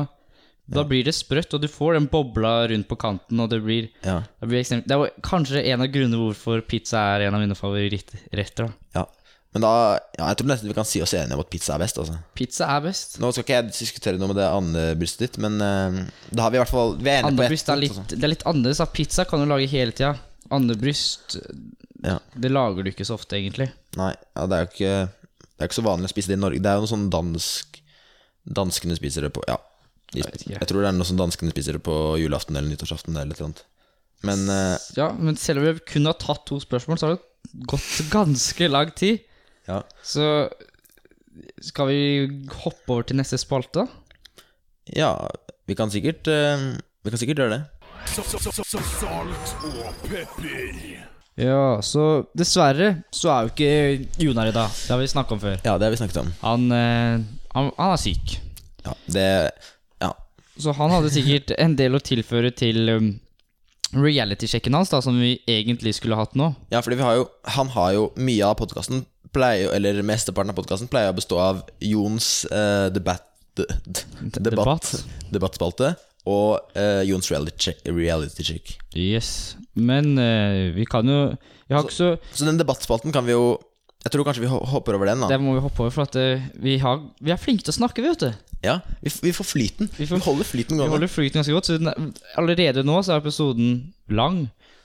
C: da blir det sprøtt, og du får den bobla rundt på kanten, og det blir,
D: Ja,
C: det blir ekstremt Det er jo kanskje en av grunnene hvorfor pizza er en av mine favorittretter. da.
D: ja Men da ja, Jeg tror nesten vi kan si oss enige om at pizza er best altså
C: Pizza er best.
D: Nå skal ikke jeg diskutere noe med det andre brystet ditt Men eh, da har vi i hvert fall Vi er enige på ett
C: Andebryst er
D: punkt, altså.
C: litt, det er litt annerledes. da. Pizza kan du lage hele tida. Andebryst
D: Ja.
C: Det lager du ikke så ofte, egentlig.
D: altså. Nei, ja, det er jo ikke Det er ikke så vanlig å spise det i Norge Det er jo noe sånn dansk Danskene spiser det på Ja de,
C: vet ikke.
D: jeg, tror det er noe som danskene spiser det på julaften eller nyttårsaften eller et eller annet. Men eh,
C: Ja, men selv om vi kun har tatt to spørsmål, så har det gått ganske lang tid.
D: ja.
C: Så skal vi hoppe over til neste spalte, da?
D: ja, vi kan sikkert eh, Vi kan sikkert gjøre det.
A: Så- så- så- så- Salt og pepper.
C: Ja, så dessverre så er jo ikke Jonar i dag. Det har vi snakka om før.
D: Ja, det har vi snakket om.
C: Han, eh, han, han er syk.
D: Ja, det Ja.
C: Så han hadde sikkert en del å tilføre til um, reality-sjekken hans, da, som vi egentlig skulle hatt nå.
D: ja fordi vi har jo Han har jo mye av podkasten pleier jo- Eller mesteparten av podkasten pleier å bestå av Jons eh, debatt, d- d- debatt
C: debatt.
D: Debattspalte og eh, Jons reality check, reality check.
C: Yes. Men eh, vi kan jo Jeg har ikke så
D: Så den debattspalten kan vi jo Jeg tror kanskje vi ho- hopper over den, da.
C: Det må vi hoppe over, for at eh, vi, har, vi er flinke til å snakke, vi, vet du.
D: Ja, vi, f- vi får flyten. Vi,
C: får-
D: holder flyten
C: Vi
D: gående.
C: holder flyten ganske godt. Så den er, allerede nå så er episoden lang.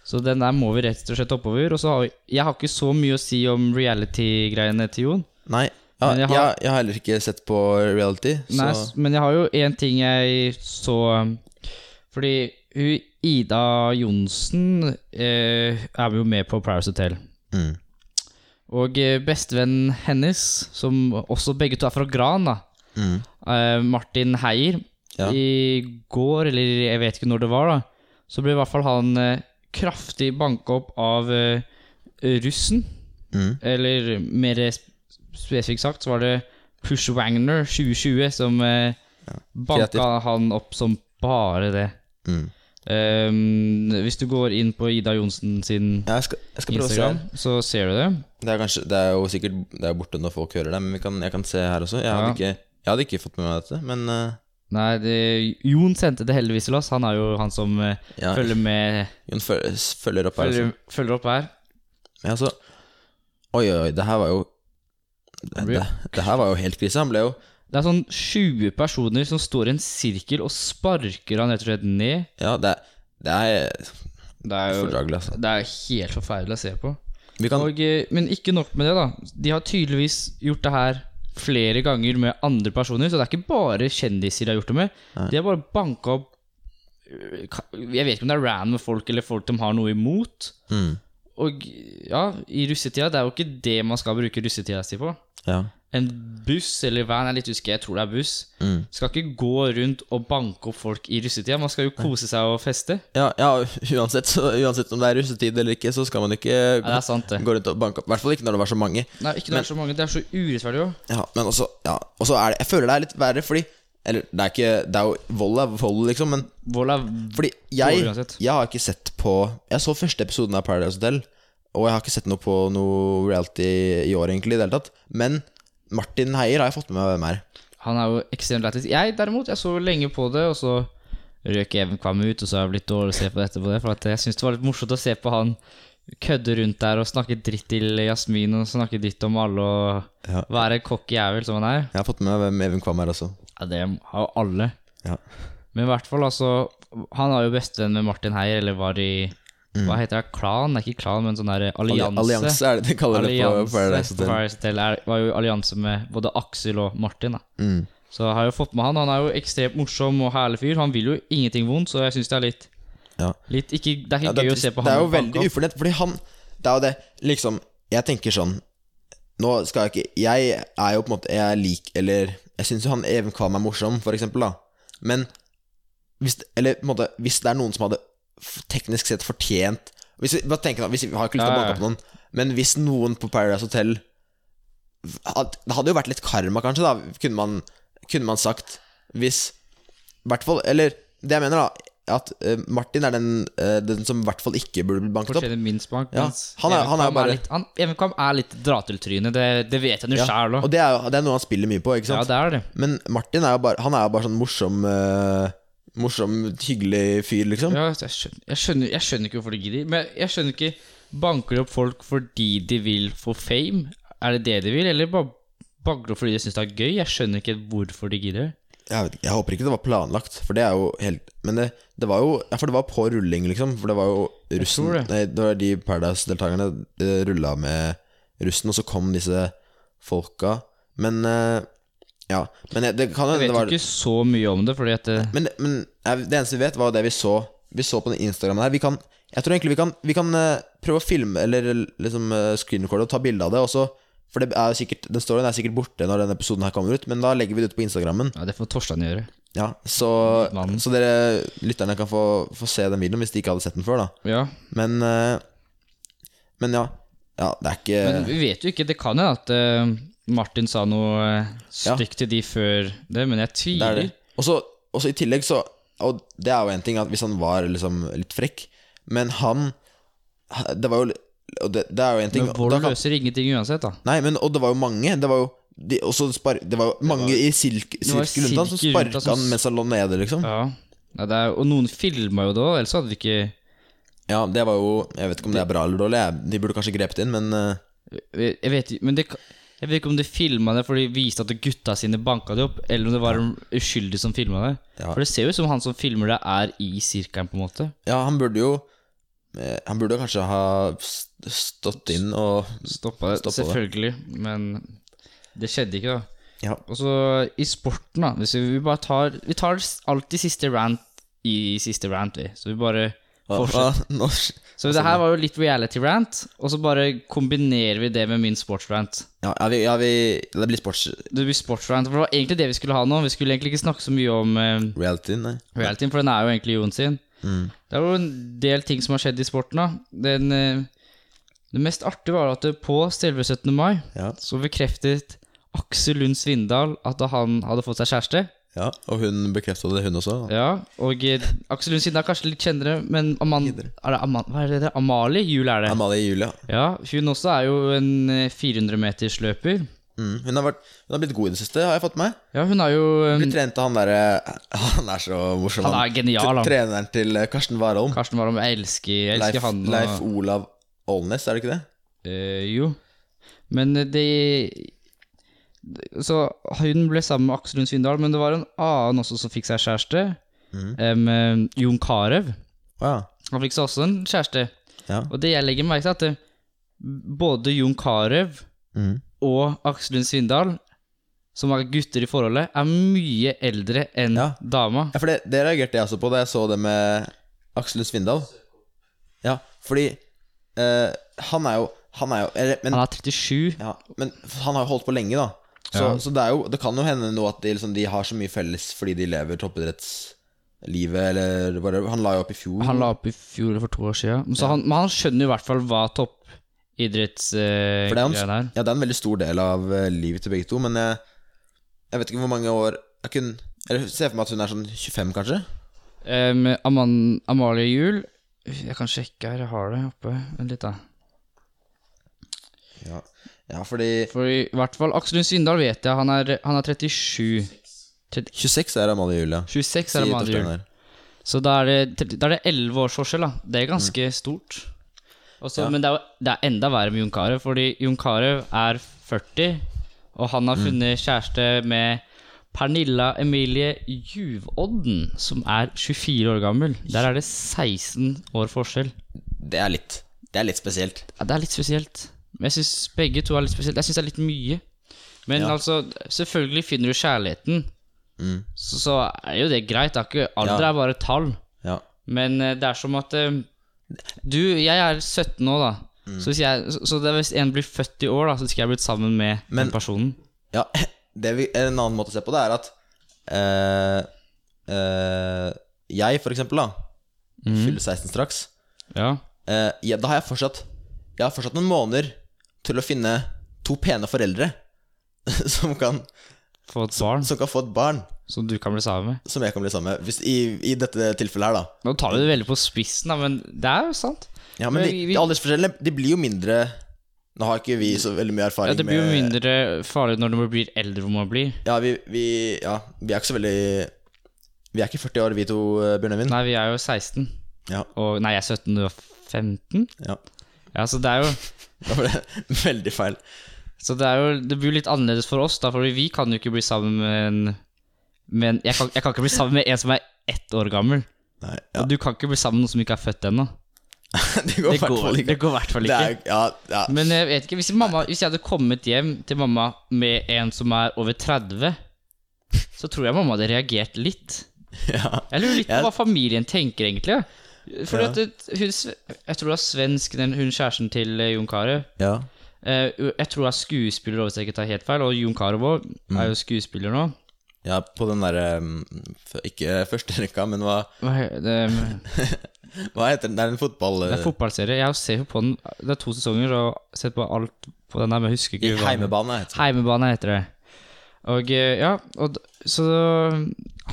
C: Så den der må vi rett og slett oppover. Og så har vi, jeg har ikke så mye å si om reality-greiene til Jon.
D: Nei, ja,
C: Men
D: jeg,
C: jeg
D: har...
C: har-
D: Jeg, har heller ikke sett på reality. Så
C: Nei, s- men jeg har jo én ting jeg så um, Fordi hun Ida Johnsen eh, er jo med på Paris Hotel.
D: Mm.
C: Og eh, bestevennen hennes, som også begge to er fra Gran, da,
D: Mm.
C: eh, Martin Heier
D: Ja.
C: I går, eller jeg vet ikke når det var da Så ble i hvert fall han eh, kraftig banket opp av eh, russen
D: Mm.
C: Eller mer sp- spesifikt sagt så var det Push Wagner 2020 som eh, banket
D: kreativt.
C: han opp som bare det
D: Mm.
C: Ehm, Hvis du går inn på Ida Jonsen sin
D: Jeg skal, jeg skal prøve
C: Instagram
D: å se.
C: Så ser du det
D: Det er, kanskje, det er jo sikkert det er borte når folk hører det, men vi kan, jeg kan se her også. Jeg hadde,
C: Ja.
D: ikke, jeg hadde ikke fått med meg dette, men eh,
C: Nei, det, Jon sendte det heldigvis til oss Han er jo han som eh,
D: ja,
C: følger med
D: Jon føl- følger opp her.
C: følger,
D: Også.
C: følger opp her
D: Ja, så, oi, oi, oi, det her var jo det,
C: blir-
D: det, det her var jo helt krise. Han ble jo
C: Det er sånn 20 personer som står i en sirkel og sparker han rett og slett ned.
D: Ja, det, det er
C: Det er jo
D: fordragelig, altså.
C: det er helt forferdelig å se på.
D: Vi kan,
C: Og, eh, men ikke nok med det, da. De har tydeligvis gjort det her flere ganger med andre personer, så det er ikke bare kjendiser de har gjort det med. De har bare banka opp øh, ka- Jeg vet ikke om det er random folk eller folk de har noe imot.
D: mm,
C: Og ja, i russetida, det er jo ikke det man skal bruke russetida si på.
D: ja.
C: En buss eller van, jeg er litt usikker, jeg tror det er buss.
D: Mm.
C: Skal ikke gå rundt og banke opp folk i russetida. Man skal jo kose seg og feste.
D: Ja, ja uansett, så, uansett om det er russetid eller ikke, så skal man ikke
C: Ja, det er sant, det.
D: gå rundt og banke opp. I hvert fall ikke når det var så mange.
C: Nei, ikke det er så mange. Det er så urettferdig òg.
D: Ja, men også, ja, og så er det Jeg føler det er litt verre fordi Eller det er ikke Det er jo Vold er vold, liksom, men
C: Vold er
D: fordi
C: Dårlig
D: jeg
C: uansett.
D: Jeg har ikke sett på Jeg så første episoden av Paradise Hotel, Og jeg har ikke sett noe på noe reality i år, egentlig. i det hele tatt Men Martin Heier har jeg fått med meg hvem er.
C: Han er jo ekstremt lættis. Jeg derimot, jeg så lenge på det, og så røk Even Kvam ut, og så har jeg blitt dårlig å se på det etterpå det, for at jeg syns det var litt morsomt å se på han kødde rundt der og snakke dritt til Jasmin, og snakke dritt om alle, og
D: Ja.
C: være cocky jævel som han er.
D: Jeg har fått med meg hvem Even Kvam er også.
C: Ja, det har jo alle.
D: Ja.
C: Men i hvert fall, altså Han er jo bestevenn med Martin Heier, eller var i Hva heter det? Klan? Det er ikke klan, men sånn der allianse.
D: Mm. Allianse er det de kaller det på
C: Allianse
D: Paradise
C: på
D: Hotel.
C: Paradise Hotel er, var jo allianse med både Aksel og Martin. Da.
D: Mm.
C: Så jeg har jo fått med han. Han er jo ekstremt morsom og herlig fyr. Han vil jo ingenting vondt, så jeg syns det er litt,
D: Ja.
C: litt ikke, Det er
D: Ja,
C: ikke
D: det,
C: gøy
D: er
C: å se på
D: det
C: han.
D: er jo
C: og banke
D: veldig
C: opp.
D: ufornøyd, fordi han Det er jo det, liksom Jeg tenker sånn Nå skal jeg ikke Jeg er jo på en måte Jeg lik, eller Jeg syns jo han Even Kvam er morsom, for eksempel, da. Men hvis, Eller på en måte Hvis det er noen som hadde f- teknisk sett fortjent Hvis vi bare tenker da, Hvis vi har ikke lyst til å
C: Ja, ja.
D: banke opp noen, men hvis noen på Paradise Hotel had- Det hadde jo vært litt karma, kanskje, da, kunne man, kunne man sagt. Hvis i hvert fall Eller det jeg mener, da. At eh, Martin er den, eh, den som i hvert fall ikke burde bli banket opp.
C: Fortjener minst bank.
D: Ja,
C: mens
D: han er-
C: Even
D: han er
C: Kvam
D: bare-
C: litt- han- Even Kvam er litt dra-til-tryne. Det, det vet han jo
D: Ja,
C: sjæl
D: Og
C: òg.
D: det er, jo- det er noe han spiller mye på, ikke
C: Ja,
D: sant?
C: det er det.
D: Men Martin er jo bare Han er jo bare sånn morsom eh, Morsom, hyggelig fyr, liksom.
C: Ja, jeg, skjønner, jeg, skjønner, jeg skjønner ikke hvorfor de gidder. Men jeg skjønner ikke Banker de opp folk fordi de vil få fame? Er det det de vil, eller bare banker de opp fordi de syns det er gøy? Jeg skjønner ikke hvorfor de gidder.
D: Jeg, vet, ikke- jeg håper ikke det var planlagt, for det er jo helt Men det, det var jo Ja, for det var på rulling, liksom. For det var jo russen
C: tror det.
D: Nei, det var de Paradise-deltakerne eh, rulla med russen, og så kom disse folka. Men eh, Ja. Men jeg, det kan
C: Jeg
D: hende
C: vet
D: det var
C: ikke så mye om det, fordi at det,
D: Men, men eh, det eneste vi vet, var det vi så Vi så på den Instagramen her. Vi kan, jeg tror egentlig vi kan, vi kan eh, prøve å filme eller liksom eh, screenrecorde og ta bilde av det. Og så, for det er jo sikkert, den storyen er sikkert borte når denne episoden her kommer ut, men da legger vi det ut på Instagrammen.
C: ja, det får Torstein gjøre.
D: Ja, så,
C: Mannen.
D: så dere lytterne kan få, få se den videoen hvis de ikke hadde sett den før. da
C: Ja,
D: Men, eh, men ja. Ja, det er ikke
C: Men vi vet jo ikke. Det kan hende at eh, Martin sa noe eh, stygt til de før det, men jeg
D: Det er
C: tviler.
D: det. Og så- og så i tillegg så Og det er jo en ting at hvis han var liksom litt frekk, men han Det var jo og det, det er jo en ting
C: Men
D: da
C: vold
D: kan-
C: løser ingenting uansett, da.
D: Nei, men og det var jo mange. Det var jo de, og så spar, det var jo mange i silk,
C: var
D: sirkel rundt han som
C: sirkel rundt han
D: sparka
C: som-
D: han mens han lå nede, liksom. Ja.
C: Ja, ja det er, Og noen filma jo det òg, ellers hadde vi ikke
D: det var jo Jeg vet ikke om det er bra eller dårlig. jeg- De burde kanskje grepet inn, men eh,
C: Jeg jeg vet, ikke- men det, kan- jeg vet ikke om de filma det for de viste at gutta sine banka det opp, eller om det var en uskyldig som filma det.
D: Ja.
C: For det ser jo ut som han som filmer det, er i sirkelen, på en måte.
D: ja, han burde jo eh, Han burde jo kanskje ha st- stått inn og
C: Stoppa det,
D: Stoppa det.
C: selvfølgelig. Men det skjedde ikke, da.
D: Ja.
C: Og så i sporten, da. Hvis vi bare tar Vi tar alltid siste rant i siste rant, vi. Så vi bare
D: Hva-
C: fortsetter.
D: hva- Norsk
C: Så det her var jo litt reality rant, og så bare kombinerer vi det med min sportsrant.
D: Ja, ja, vi, ja vi, det blir sports-reality,
C: Det blir sportsrant, for det var egentlig det vi skulle ha nå. Vi skulle egentlig ikke snakke så mye om eh,
D: nei.
C: realityen, for den er jo egentlig Jon sin.
D: Mm.
C: Det er jo en del ting som har skjedd i sporten. da. Den, eh, det mest artige var at det på selve 17. mai
D: Ja.
C: så bekreftet Aksel Lund Svindal at han hadde fått seg kjæreste.
D: Ja, og hun bekrefta det, hun også. da.
C: Ja, og eh, Aksel Lund Svindal er kanskje litt kjennere, men Aman, er det Aman, hva er det det? Amalie Juel er det.
D: Amalie Julia.
C: Ja, hun også er jo en eh, 400-metersløper.
D: Mm. Hun, har vært, hun har blitt god i det siste, har jeg fått med.
C: Ja, hun er jo eh,
D: Blitt trent av han derre Han er så morsom,
C: Han er genial, han.
D: Treneren til eh, Karsten Warholm.
C: Karsten Warholm, jeg elsker, jeg elsker
D: Leif,
C: han. og-
D: Leif Olav Aalnes, er det ikke det?
C: Eh, jo. Men eh, det Så hun ble sammen med Aksel Lund Svindal, men det var en annen også som fikk seg kjæreste.
D: Mhm.
C: Em, eh, Jon Carew.
D: Å ja.
C: Han fikk seg også en kjæreste.
D: Ja.
C: Og det jeg legger merke til, er at eh, både Jon Carew
D: Mhm.
C: og Aksel Lund Svindal, som er gutter i forholdet, er mye eldre enn
D: Ja.
C: dama.
D: ja for det, det reagerte jeg også på da jeg så det med Aksel Lund Svindal. Ja, fordi eh, han er jo Han er jo eller, men,
C: Han er 37.
D: ja, men han har jo holdt på lenge, da. Så,
C: Ja.
D: så det, er jo, det kan jo hende noe at de, liksom, de har så mye felles fordi de lever toppidrettslivet, eller whatever. Han la jo opp i fjor.
C: Han la opp i fjor eller for to år siden. Men, så han, men han skjønner i hvert fall hva
D: For det er,
C: toppidrettsgreia
D: en,
C: er.
D: ja, det er en veldig stor del av eh, livet til begge to, men jeg, jeg vet ikke hvor mange år Jeg kunne eller ser for meg at hun er sånn 25, kanskje?
C: Eh, Um, Aman, Amalie Juel Jeg kan sjekke her, jeg har det oppe. Vent litt, da.
D: Ja, ja fordi
C: For i hvert fall Aksel Lund Svindal vet jeg, han er, han er 37.
D: 26 er Amalie Julia.
C: 26
D: sier
C: er Amalie
D: Torstein
C: Juel.
D: her.
C: Så da er det, tre- da er det 11 års forskjell, da. Det er ganske stort. Også, Men det er, jo- det er enda verre med Jon Carew, fordi Jon Carew er 40, og han har funnet kjæreste med Pernilla Emilie Juvodden, som er 24 år gammel. Der er det 16 år forskjell.
D: Det er litt Det er litt spesielt.
C: Ja, det er litt spesielt. Men jeg syns begge to er litt spesielt. Jeg syns det er litt mye. Men altså, selvfølgelig finner du kjærligheten. Så, så er jo det greit. Det er ikke, alder
D: Ja.
C: er bare tall.
D: Ja.
C: Men eh, det er som at eh, Du, jeg er 17 nå, da. Så, hvis jeg, så, så det er hvis en blir født i år, da, så skal jeg blitt sammen med
D: Men-
C: den personen.
D: ja det vi, en annen måte å se på det er at eh, eh, Jeg, for eksempel, da
C: Mm.
D: fyller 16 straks.
C: Ja.
D: Eh, ja, da har jeg fortsatt Jeg har fortsatt noen måneder til å finne to pene foreldre som kan,
C: Få et barn
D: som kan få et barn
C: som du kan bli sammen med.
D: som jeg kan bli sammen med. Hvis, i, I dette tilfellet her, da.
C: Nå tar vi det veldig på spissen, da, men det er jo sant.
D: Ja, Men
C: Men
D: de,
C: vi-
D: de aldersforskjellene De blir jo mindre Nå har ikke vi så veldig mye
C: Ja,
D: erfaring
C: det blir jo
D: med
C: mindre farlig når du blir eldre hvor man blir.
D: Ja, vi, vi, ja, vi er ikke så veldig Vi er ikke 40 år, vi to, eh, Bjørn Øyvind.
C: Nei, vi er jo 16.
D: Ja.
C: Og, nei, jeg er 17, du er 15?
D: Ja.
C: Ja, så det er jo
D: Da ble det veldig feil.
C: Så det er jo Det blir jo litt annerledes for oss, da, for vi kan jo ikke bli sammen med en Men jeg kan, jeg kan ikke bli sammen med en som er ett år gammel.
D: Nei, ja,
C: Og du kan ikke bli sammen med noen som ikke er født ennå.
D: det går i
C: Det
D: hvert
C: går
D: fall
C: det
D: ikke.
C: går i hvert fall
D: Det
C: ikke.
D: er, ja, ja.
C: Men jeg vet ikke, hvis, mamma, hvis jeg hadde kommet hjem til mamma med en som er over 30, så tror jeg mamma hadde reagert litt.
D: Ja.
C: Jeg lurer litt på
D: Jeg-
C: hva familien tenker, egentlig. Fordi
D: Ja.
C: at det- hun, sve- Jeg tror det er svensk, den, hun kjæresten til eh, Jon Carew.
D: ja.
C: Eh, jeg tror hun er skuespiller, hvis jeg ikke tar helt feil, og Jon Carew òg
D: Mm.
C: er jo skuespiller nå.
D: Ja, på den derre Ikke første rekka, men hva,
C: Hva he- Det,
D: hva heter den? Det er en fotball... eh,
C: det er fotballserie. Jeg ser jo på den Det er to sesonger, og jeg har sett på alt på den der, men jeg husker
D: I
C: ikke hva den-
D: heimebane, heter det.
C: Heimebane heter det. Og eh, ja, og, d- så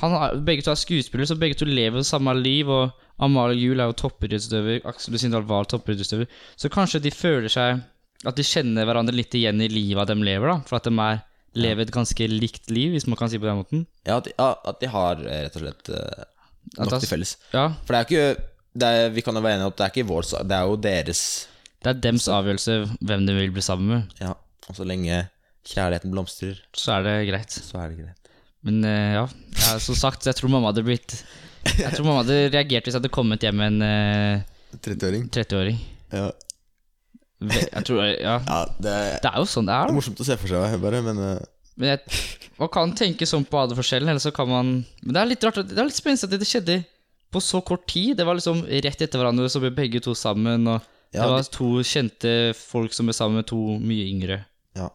C: han, er- Begge to er skuespillere, så begge to lever det samme liv. Og Amalie Juel er jo toppidrettsutøver, Aksel Sindal var toppidrettsutøver. Så kanskje de føler seg At de kjenner hverandre litt igjen i livet de lever, da. For at de er, lever et ganske likt liv, hvis man kan si på den måten.
D: Ja, at de, ja, at de har eh, rett og slett eh,
C: At
D: nok
C: det-
D: til felles.
C: Ja,
D: For det er jo ikke det er, Vi kan jo være enige om at det er ikke vår sak, det er jo deres
C: Det er dems avgjørelse hvem de vil bli sammen med.
D: Ja, og så lenge kjærligheten blomstrer,
C: Så er det greit.
D: så er det greit.
C: Men eh, ja, ja som sagt, jeg tror mamma hadde blitt Jeg tror mamma hadde reagert hvis jeg hadde kommet hjem med en eh,
D: 30-åring.
C: 30-åring.
D: Ja.
C: Ve- Jeg tror, ja
D: ja, det
C: Det er jo sånn det er, da.
D: morsomt å se for seg, bare, men eh,
C: Men jeg, man kan tenke sånn på aldersforskjellen, eller så kan man Men det er litt rart, at- det er litt spennende at det skjedde på så kort tid. Det var liksom rett etter hverandre, så ble begge to sammen, og
D: Ja,
C: det var to kjente folk som ble sammen med to mye yngre.
D: Ja.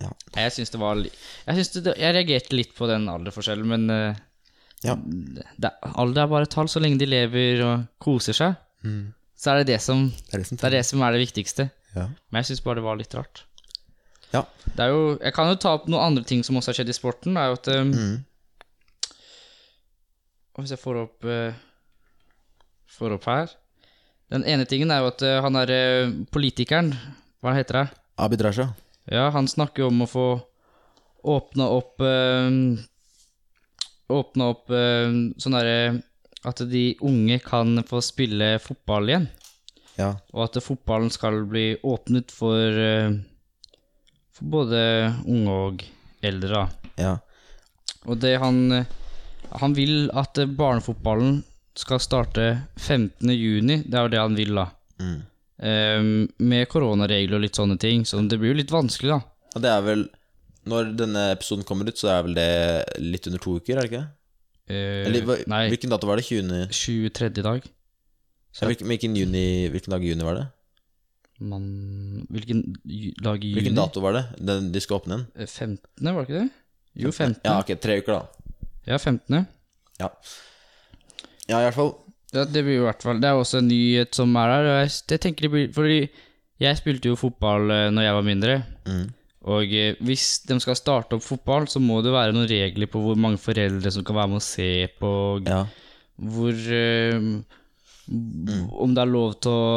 D: Ja.
C: Jeg syns det var li- Jeg, synes det, jeg reagerte litt på den alderforskjellen, men eh,
D: Ja.
C: det, Alder er bare tall. Så lenge de lever og koser seg, så er det det som
D: Det er det som
C: det er det som er det viktigste.
D: Ja.
C: Men jeg syns bare det var litt rart.
D: Ja.
C: Det er jo, jeg kan jo ta opp noen andre ting som også har skjedd i sporten. Det er jo at um, og Hvis jeg får opp eh, Får opp her Den ene tingen er jo at eh, han er eh, politikeren Hva heter det?
D: Abid Raja.
C: Ja, han snakker jo om å få åpna opp eh, Åpna opp eh, sånn derre At de unge kan få spille fotball igjen.
D: Ja.
C: Og at fotballen skal bli åpnet for, eh, for både unge og eldre. Da.
D: ja.
C: Og det han eh, Han vil at eh, barnefotballen skal starte 15. juni. Det er jo det han vil, da.
D: Mm.
C: Eh, med koronaregler og litt sånne ting. Så det blir jo litt vanskelig, da.
D: Og det er vel Når denne episoden kommer ut, så er vel det litt under to uker, er det ikke?
C: Eh,
D: Eller hva,
C: nei,
D: hvilken dato var det? 20.
C: 23. i dag.
D: Ja, hvilken, hvilken, juni, hvilken dag i juni var det?
C: Man, hvilken ju- dag i juni?
D: Hvilken dato var det den, de skal åpne den?
C: Eh, 15., var det ikke det? Jo, 15.
D: Ja, ok, tre uker, da.
C: ja 15.
D: Ja, ja i hvert fall.
C: Ja, det blir jo i hvert fall Det er jo også en nyhet som er her. og Jeg, jeg tenker det blir Fordi jeg spilte jo fotball eh, når jeg var mindre.
D: Mhm.
C: Og eh, hvis de skal starte opp fotball, så må det være noen regler på hvor mange foreldre som kan være med og se på. og
D: Ja.
C: Hvor eh, Om det er lov til å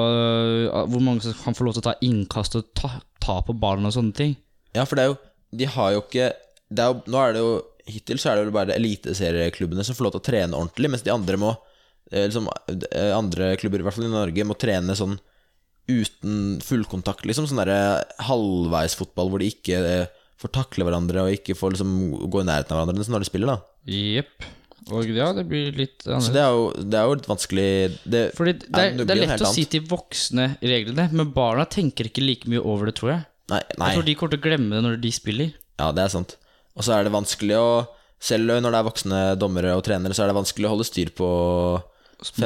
C: eh, Hvor mange som kan få lov til å ta innkast og ta, ta på ballen og sånne ting.
D: Ja, for det er jo De har jo ikke det er jo, Nå er det jo Hittil så er det vel bare eliteserieklubbene som får lov til å trene ordentlig, mens de andre må eh, liksom, eh, Andre klubber, i hvert fall i Norge, må trene sånn uten fullkontakt, liksom. Sånn derre halvveisfotball hvor de ikke eh, får takle hverandre og ikke får liksom gå i nærheten av hverandre liksom, når de spiller, da.
C: Jepp. Og ja, det blir litt
D: Så
C: annerledes.
D: det er jo, det er jo litt vanskelig det,
C: Fordi det er,
D: Nei, det
C: det er
D: blir
C: lett
D: helt
C: å si
D: annet.
C: til voksne reglene, men barna tenker ikke like mye over det, tror jeg.
D: Nei, nei.
C: Jeg tror de kommer til å glemme det når de spiller.
D: Ja, det er sant. Og så er det vanskelig å Selv når det er voksne dommere og trenere, så er det vanskelig å holde styr på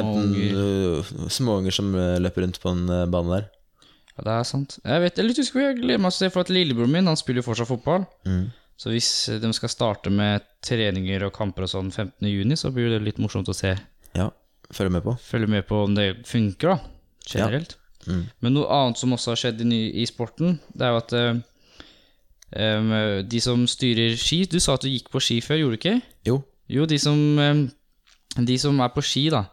C: unger.
D: 15 småunger som eh, løper rundt på en eh, bane der.
C: Ja, det er sant. Jeg vet, jeg er litt usikker, jeg gleder meg til å se, for at lillebroren min han spiller jo fortsatt fotball.
D: Mm.
C: Så hvis de skal starte med treninger og kamper og sånn 15.6, så blir det litt morsomt å se.
D: Ja, følg med på.
C: Følge med på om det funker, da. Generelt.
D: Mm.
C: Men noe annet som også har skjedd i, ny- i sporten, det er jo at eh, em, de som styrer ski Du sa at du gikk på ski før, gjorde du ikke?
D: Jo.
C: Jo, de som, eh, de som er på ski, da.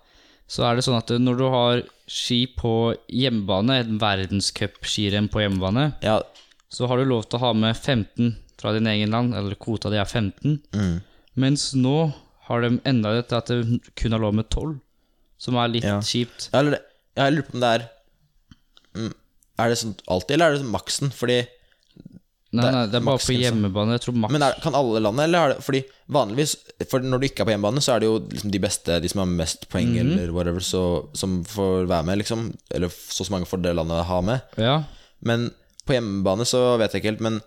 C: Så er det sånn at eh, når du har ski på hjemmebane, et verdenscupskirenn på hjemmebane,
D: Ja,
C: så har du lov til å ha med 15 fra din egen land, eller kvota di er 15.
D: Mm.
C: Mens nå har de enda det til at de kun har lov med 12, som er litt
D: Ja.
C: kjipt.
D: Ja, eller det- ja, jeg lurer på om det er mm, Er det sånn alltid, eller er det sånn maksen? Fordi
C: Nei,
D: Det er
C: nei, det er bare på
D: maksgrensa.
C: hjemmebane. Jeg tror maks
D: Men er, kan alle landene, eller er det Fordi vanligvis For når du ikke er på hjemmebane, så er det jo liksom de beste, de som har mest poeng, eller whatever, så, som får være med, liksom. Eller f- så så mange får det landet ha med.
C: Ja,
D: Men på hjemmebane så vet jeg ikke helt, men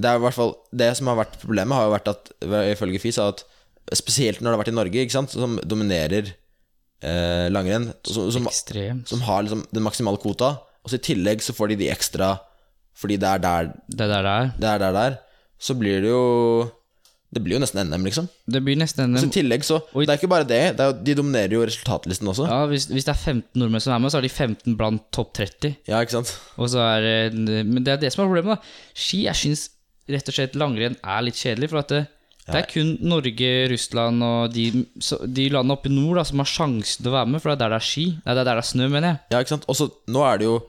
D: det er i hvert fall Det som har vært problemet, har jo vært at ifølge FIS er at spesielt når det har vært i Norge, ikke sant, som dominerer eh, langrenn, som, som,
C: ekstremt.
D: som har liksom den maksimale kvota, og så i tillegg så får de de ekstra fordi det er der,
C: Det der det er.
D: det er der, der, så blir det jo Det blir jo nesten NM, liksom.
C: Det blir nesten en
D: Så i tillegg så Det er ikke bare det, det er, jo- de dominerer jo resultatlisten også. Ja,
C: ja, hvis, hvis det er 15 nordmenn som er med, så er de 15 blant topp 30.
D: ikke sant?
C: Og så er, det- men det er det som er problemet. da Ski jeg syns rett og slett langrenn er litt kjedelig. For at det, det er kun Norge, Russland og de, så, de landene oppe i nord da som har sjansen til å være med. For det er der det er ski. Nei, det er der det er snø, mener jeg.
D: Ja, ikke sant? Og så nå er det jo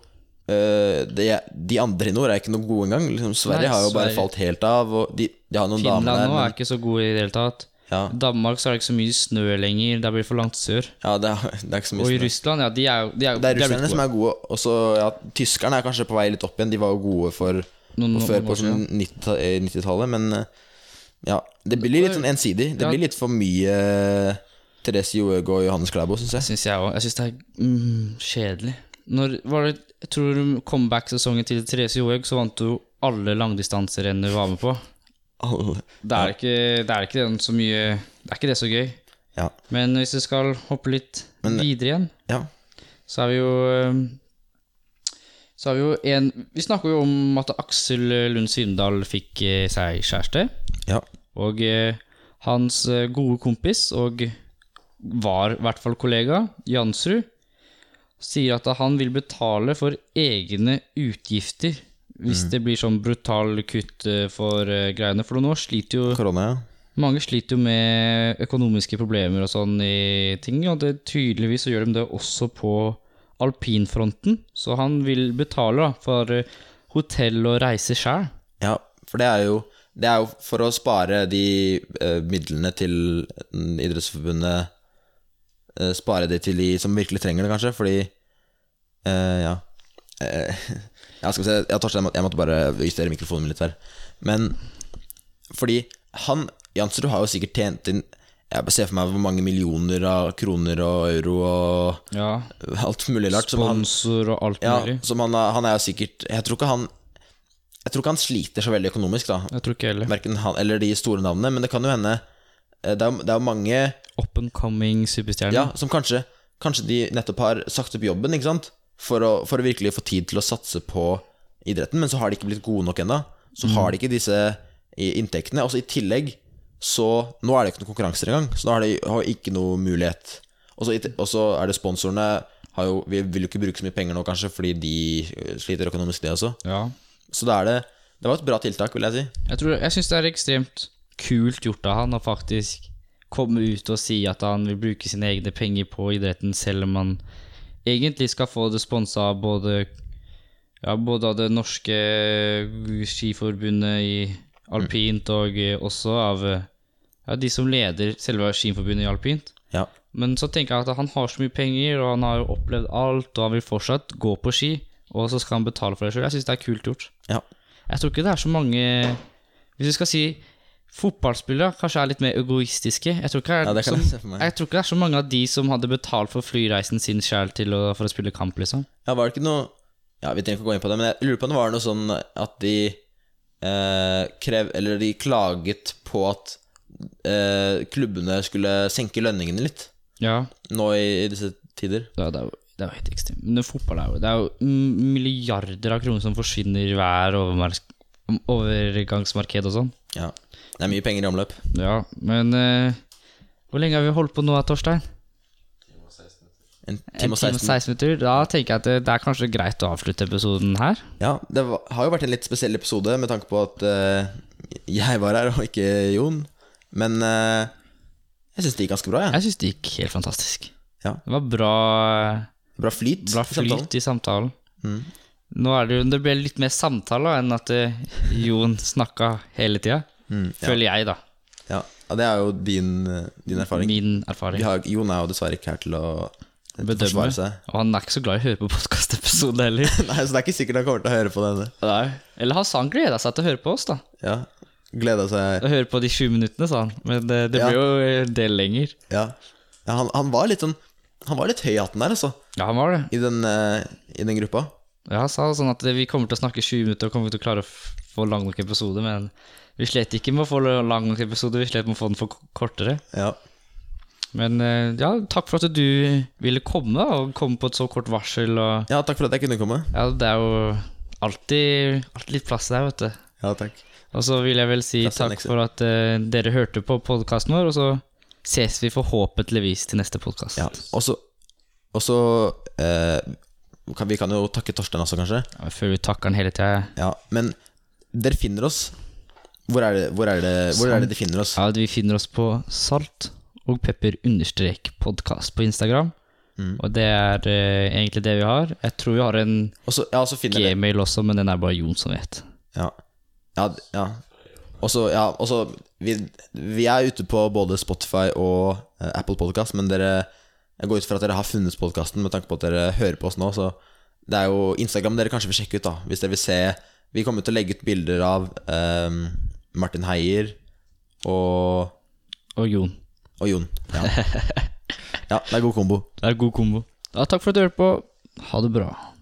D: øh, det, De andre i nord er ikke noe gode engang. Liksom, Sverige
C: Nei,
D: har jo bare
C: Sverige.
D: falt helt av. Og de, de har noen damer
C: Finland
D: der.
C: nå er
D: Men,
C: ikke så gode i det hele tatt.
D: ja,
C: Danmark så er det ikke så mye snø lenger. Der blir det for langt sør.
D: ja det, er, det er ikke så mye
C: Og i
D: snø.
C: Russland, ja, de er jo de er, jo-
D: Det er
C: de blitt
D: russerne som er gode. Og så ja, tyskerne er kanskje på vei litt opp igjen. De var jo gode for
C: Noen-
D: på
C: noen
D: før
C: år
D: på sånn 90 eh, 90-tallet, men eh, ja Det blir litt sånn ensidig. Det
C: Ja.
D: blir litt for mye eh, Therese Johaug og Johannes Klæbo, syns jeg.
C: Syns jeg òg. Jeg syns det er mm, kjedelig. Når var det Jeg tror comeback-sesongen til Therese Johaug, så vant hun alle langdistanserenn hun var med på.
D: Alle.
C: Det er ikke det er ikke den så mye Det er ikke det så gøy.
D: Ja.
C: Men hvis vi skal hoppe litt
D: Men-
C: videre igjen,
D: ja.
C: så er vi jo øhm, Så har vi jo en Vi snakker jo om at Aksel Lund Svindal fikk eh, seg kjæreste.
D: Ja.
C: Og eh, hans eh, gode kompis, og var i hvert fall kollega, Jansrud, sier at han vil betale for egne utgifter hvis det blir sånn brutal kutt eh, for eh, greiene. For nå sliter jo
D: Korona, ja.
C: mange sliter jo med økonomiske problemer og sånn i ting, og det, tydeligvis så gjør de det også på alpinfronten. Så han vil betale da, for eh, hotell og reise sjøl.
D: Ja, for det er jo, det er jo for å spare de eh, midlene til mm, Idrettsforbundet eh, Spare de til de som virkelig trenger det, kanskje, fordi eh, Ja. Eh, ja, skal vi se, ja, Torstein, jeg må- jeg måtte bare justere mikrofonen min litt her. Men fordi han Jansrud har jo sikkert tjent inn Jeg bare ser for meg hvor mange millioner av kroner og euro og
C: Ja.
D: alt mulig rart. som han-
C: Sponsor og alt
D: ja,
C: mulig.
D: som han, er- han er jo sikkert Jeg tror ikke han Jeg tror ikke han sliter så veldig økonomisk, da.
C: Jeg tror ikke heller.
D: Verken han eller de store navnene, men det kan jo hende eh, Det er, jo- det er jo mange
C: Up and coming superstjerne.
D: ja, som kanskje Kanskje de nettopp har sagt opp jobben, ikke sant? For å, for å virkelig få tid til å satse på idretten, men så har de ikke blitt gode nok ennå. Så
C: Mm.
D: har de ikke disse i- inntektene. Og så i tillegg så Nå er det ikke noen konkurranser engang, så nå har de har ikke noe mulighet. Og så i til- Og så er det sponsorene har jo, Vi vil jo ikke bruke så mye penger nå, kanskje, fordi de eh, sliter økonomisk, det også.
C: Ja.
D: Så da er det Det var et bra tiltak, vil jeg si.
C: Jeg, tror- jeg syns det er ekstremt kult gjort av han å faktisk komme ut og si at han vil bruke sine egne penger på idretten, selv om han egentlig skal få det sponsa av både ja, både av det norske skiforbundet i alpint, og eh, også av eh, ja, de som leder selve skiforbundet i alpint.
D: Ja.
C: Men så tenker jeg at han har så mye penger, og han har jo opplevd alt, og han vil fortsatt gå på ski, og så skal han betale for det sjøl. Jeg syns det er kult gjort.
D: ja.
C: Jeg tror ikke det er så mange Hvis du skal si fotballspillere, kanskje er litt mer egoistiske. Jeg tror ikke, det er
D: Ja, det kan
C: som,
D: jeg se for meg.
C: jeg tror ikke det er så mange av de som hadde betalt for flyreisen sin sjæl til å, for å spille kamp, liksom.
D: Ja, var det ikke noe Ja, vi trenger ikke å gå inn på det, men jeg lurer på om det var noe sånn at de eh, krev... Eller de klaget på at eh, klubbene skulle senke lønningene litt
C: Ja,
D: nå i, i disse tider.
C: det er, det er, jo, det er jo helt ekstremt. Men fotball er jo Det er jo mm, milliarder av kroner som forsvinner i hver overmark- overgangsmarked og sånn.
D: Ja. Det er mye penger i omløp.
C: Ja, men eh, Hvor lenge har vi holdt på nå, Torstein? En
D: En time og 16.
C: minutter. Da tenker jeg at det, det er kanskje greit å avslutte episoden her.
D: Ja, det var, har jo vært en litt spesiell episode med tanke på at eh, jeg var her og ikke Jon. Men eh, jeg syns det gikk ganske bra. Ja.
C: Jeg syns det gikk helt fantastisk.
D: Ja.
C: Det var bra,
D: Bra flyt.
C: bra
D: i samtalen.
C: flyt i samtalen. Mm. Nå er det jo Det ble litt mer samtale enn at eh, Jon snakka hele tida. Føler jeg, da.
D: Ja. ja, det er jo din, eh, din erfaring.
C: Min
D: Vi
C: erfaring.
D: har, Jon er jo dessverre ikke her til å
C: Bedømme.
D: forsvare seg.
C: Og han er ikke så glad i å høre på podkastepisoder heller.
D: Nei, Så det er ikke sikkert han kommer til å høre på denne.
C: Nei. Eller han sa han gleda seg til å høre på oss, da.
D: Ja, Gleda seg
C: Å høre på de 20 minuttene, sa han. Men eh, det, det
D: Ja.
C: ble jo en del lenger.
D: Ja, ja han, han var litt sånn Han var litt høy i hatten der, altså,
C: Ja, han var det.
D: i den, eh, i den gruppa.
C: Ja, han sa sånn at vi kommer til å snakke 20 minutter og kommer til å klare å f- få lang nok episode, men vi slet ikke med å få lang nok episode, vi slet med å få den for k- kortere.
D: Ja.
C: Men eh, ja, takk for at du ville komme, da, og komme på et så kort varsel. Og,
D: ja, takk for at jeg kunne komme.
C: ja, det er jo alltid, alltid litt plass der, vet du.
D: Ja, takk.
C: Og så vil jeg vel si
D: Plass til
C: takk
D: nekser.
C: for at eh, dere hørte på podkasten vår, og så ses vi forhåpentligvis til neste podkast.
D: Ja, og så Og så eh, kan, Vi kan jo takke Torstein også, kanskje.
C: Før vi takker den hele tida.
D: Ja, Men dere finner oss. Hvor er det Hvor er det, hvor er det de finner oss?
C: Ja, vi finner oss på salt og pepper understrek podcast på Instagram. Og det er eh, egentlig det vi har. Jeg tror vi har en
D: Og så- ja, så finner dere
C: gmail også, men den er bare Jon som vet.
D: Ja. Ja, d- ja. Og så ja, og så vi, vi er ute på både Spotify og eh, Apple Podcast, men dere Jeg går ut fra at dere har funnet podkasten med tanke på at dere hører på oss nå, så det er jo Instagram dere kanskje vil sjekke ut, da, hvis dere vil se Vi kommer til å legge ut bilder av eh, Martin Heier og
C: Og Jon.
D: Og Jon. Ja. ja, det er god kombo.
C: Det er god kombo. Ja, takk for at du hørte på. Ha det bra.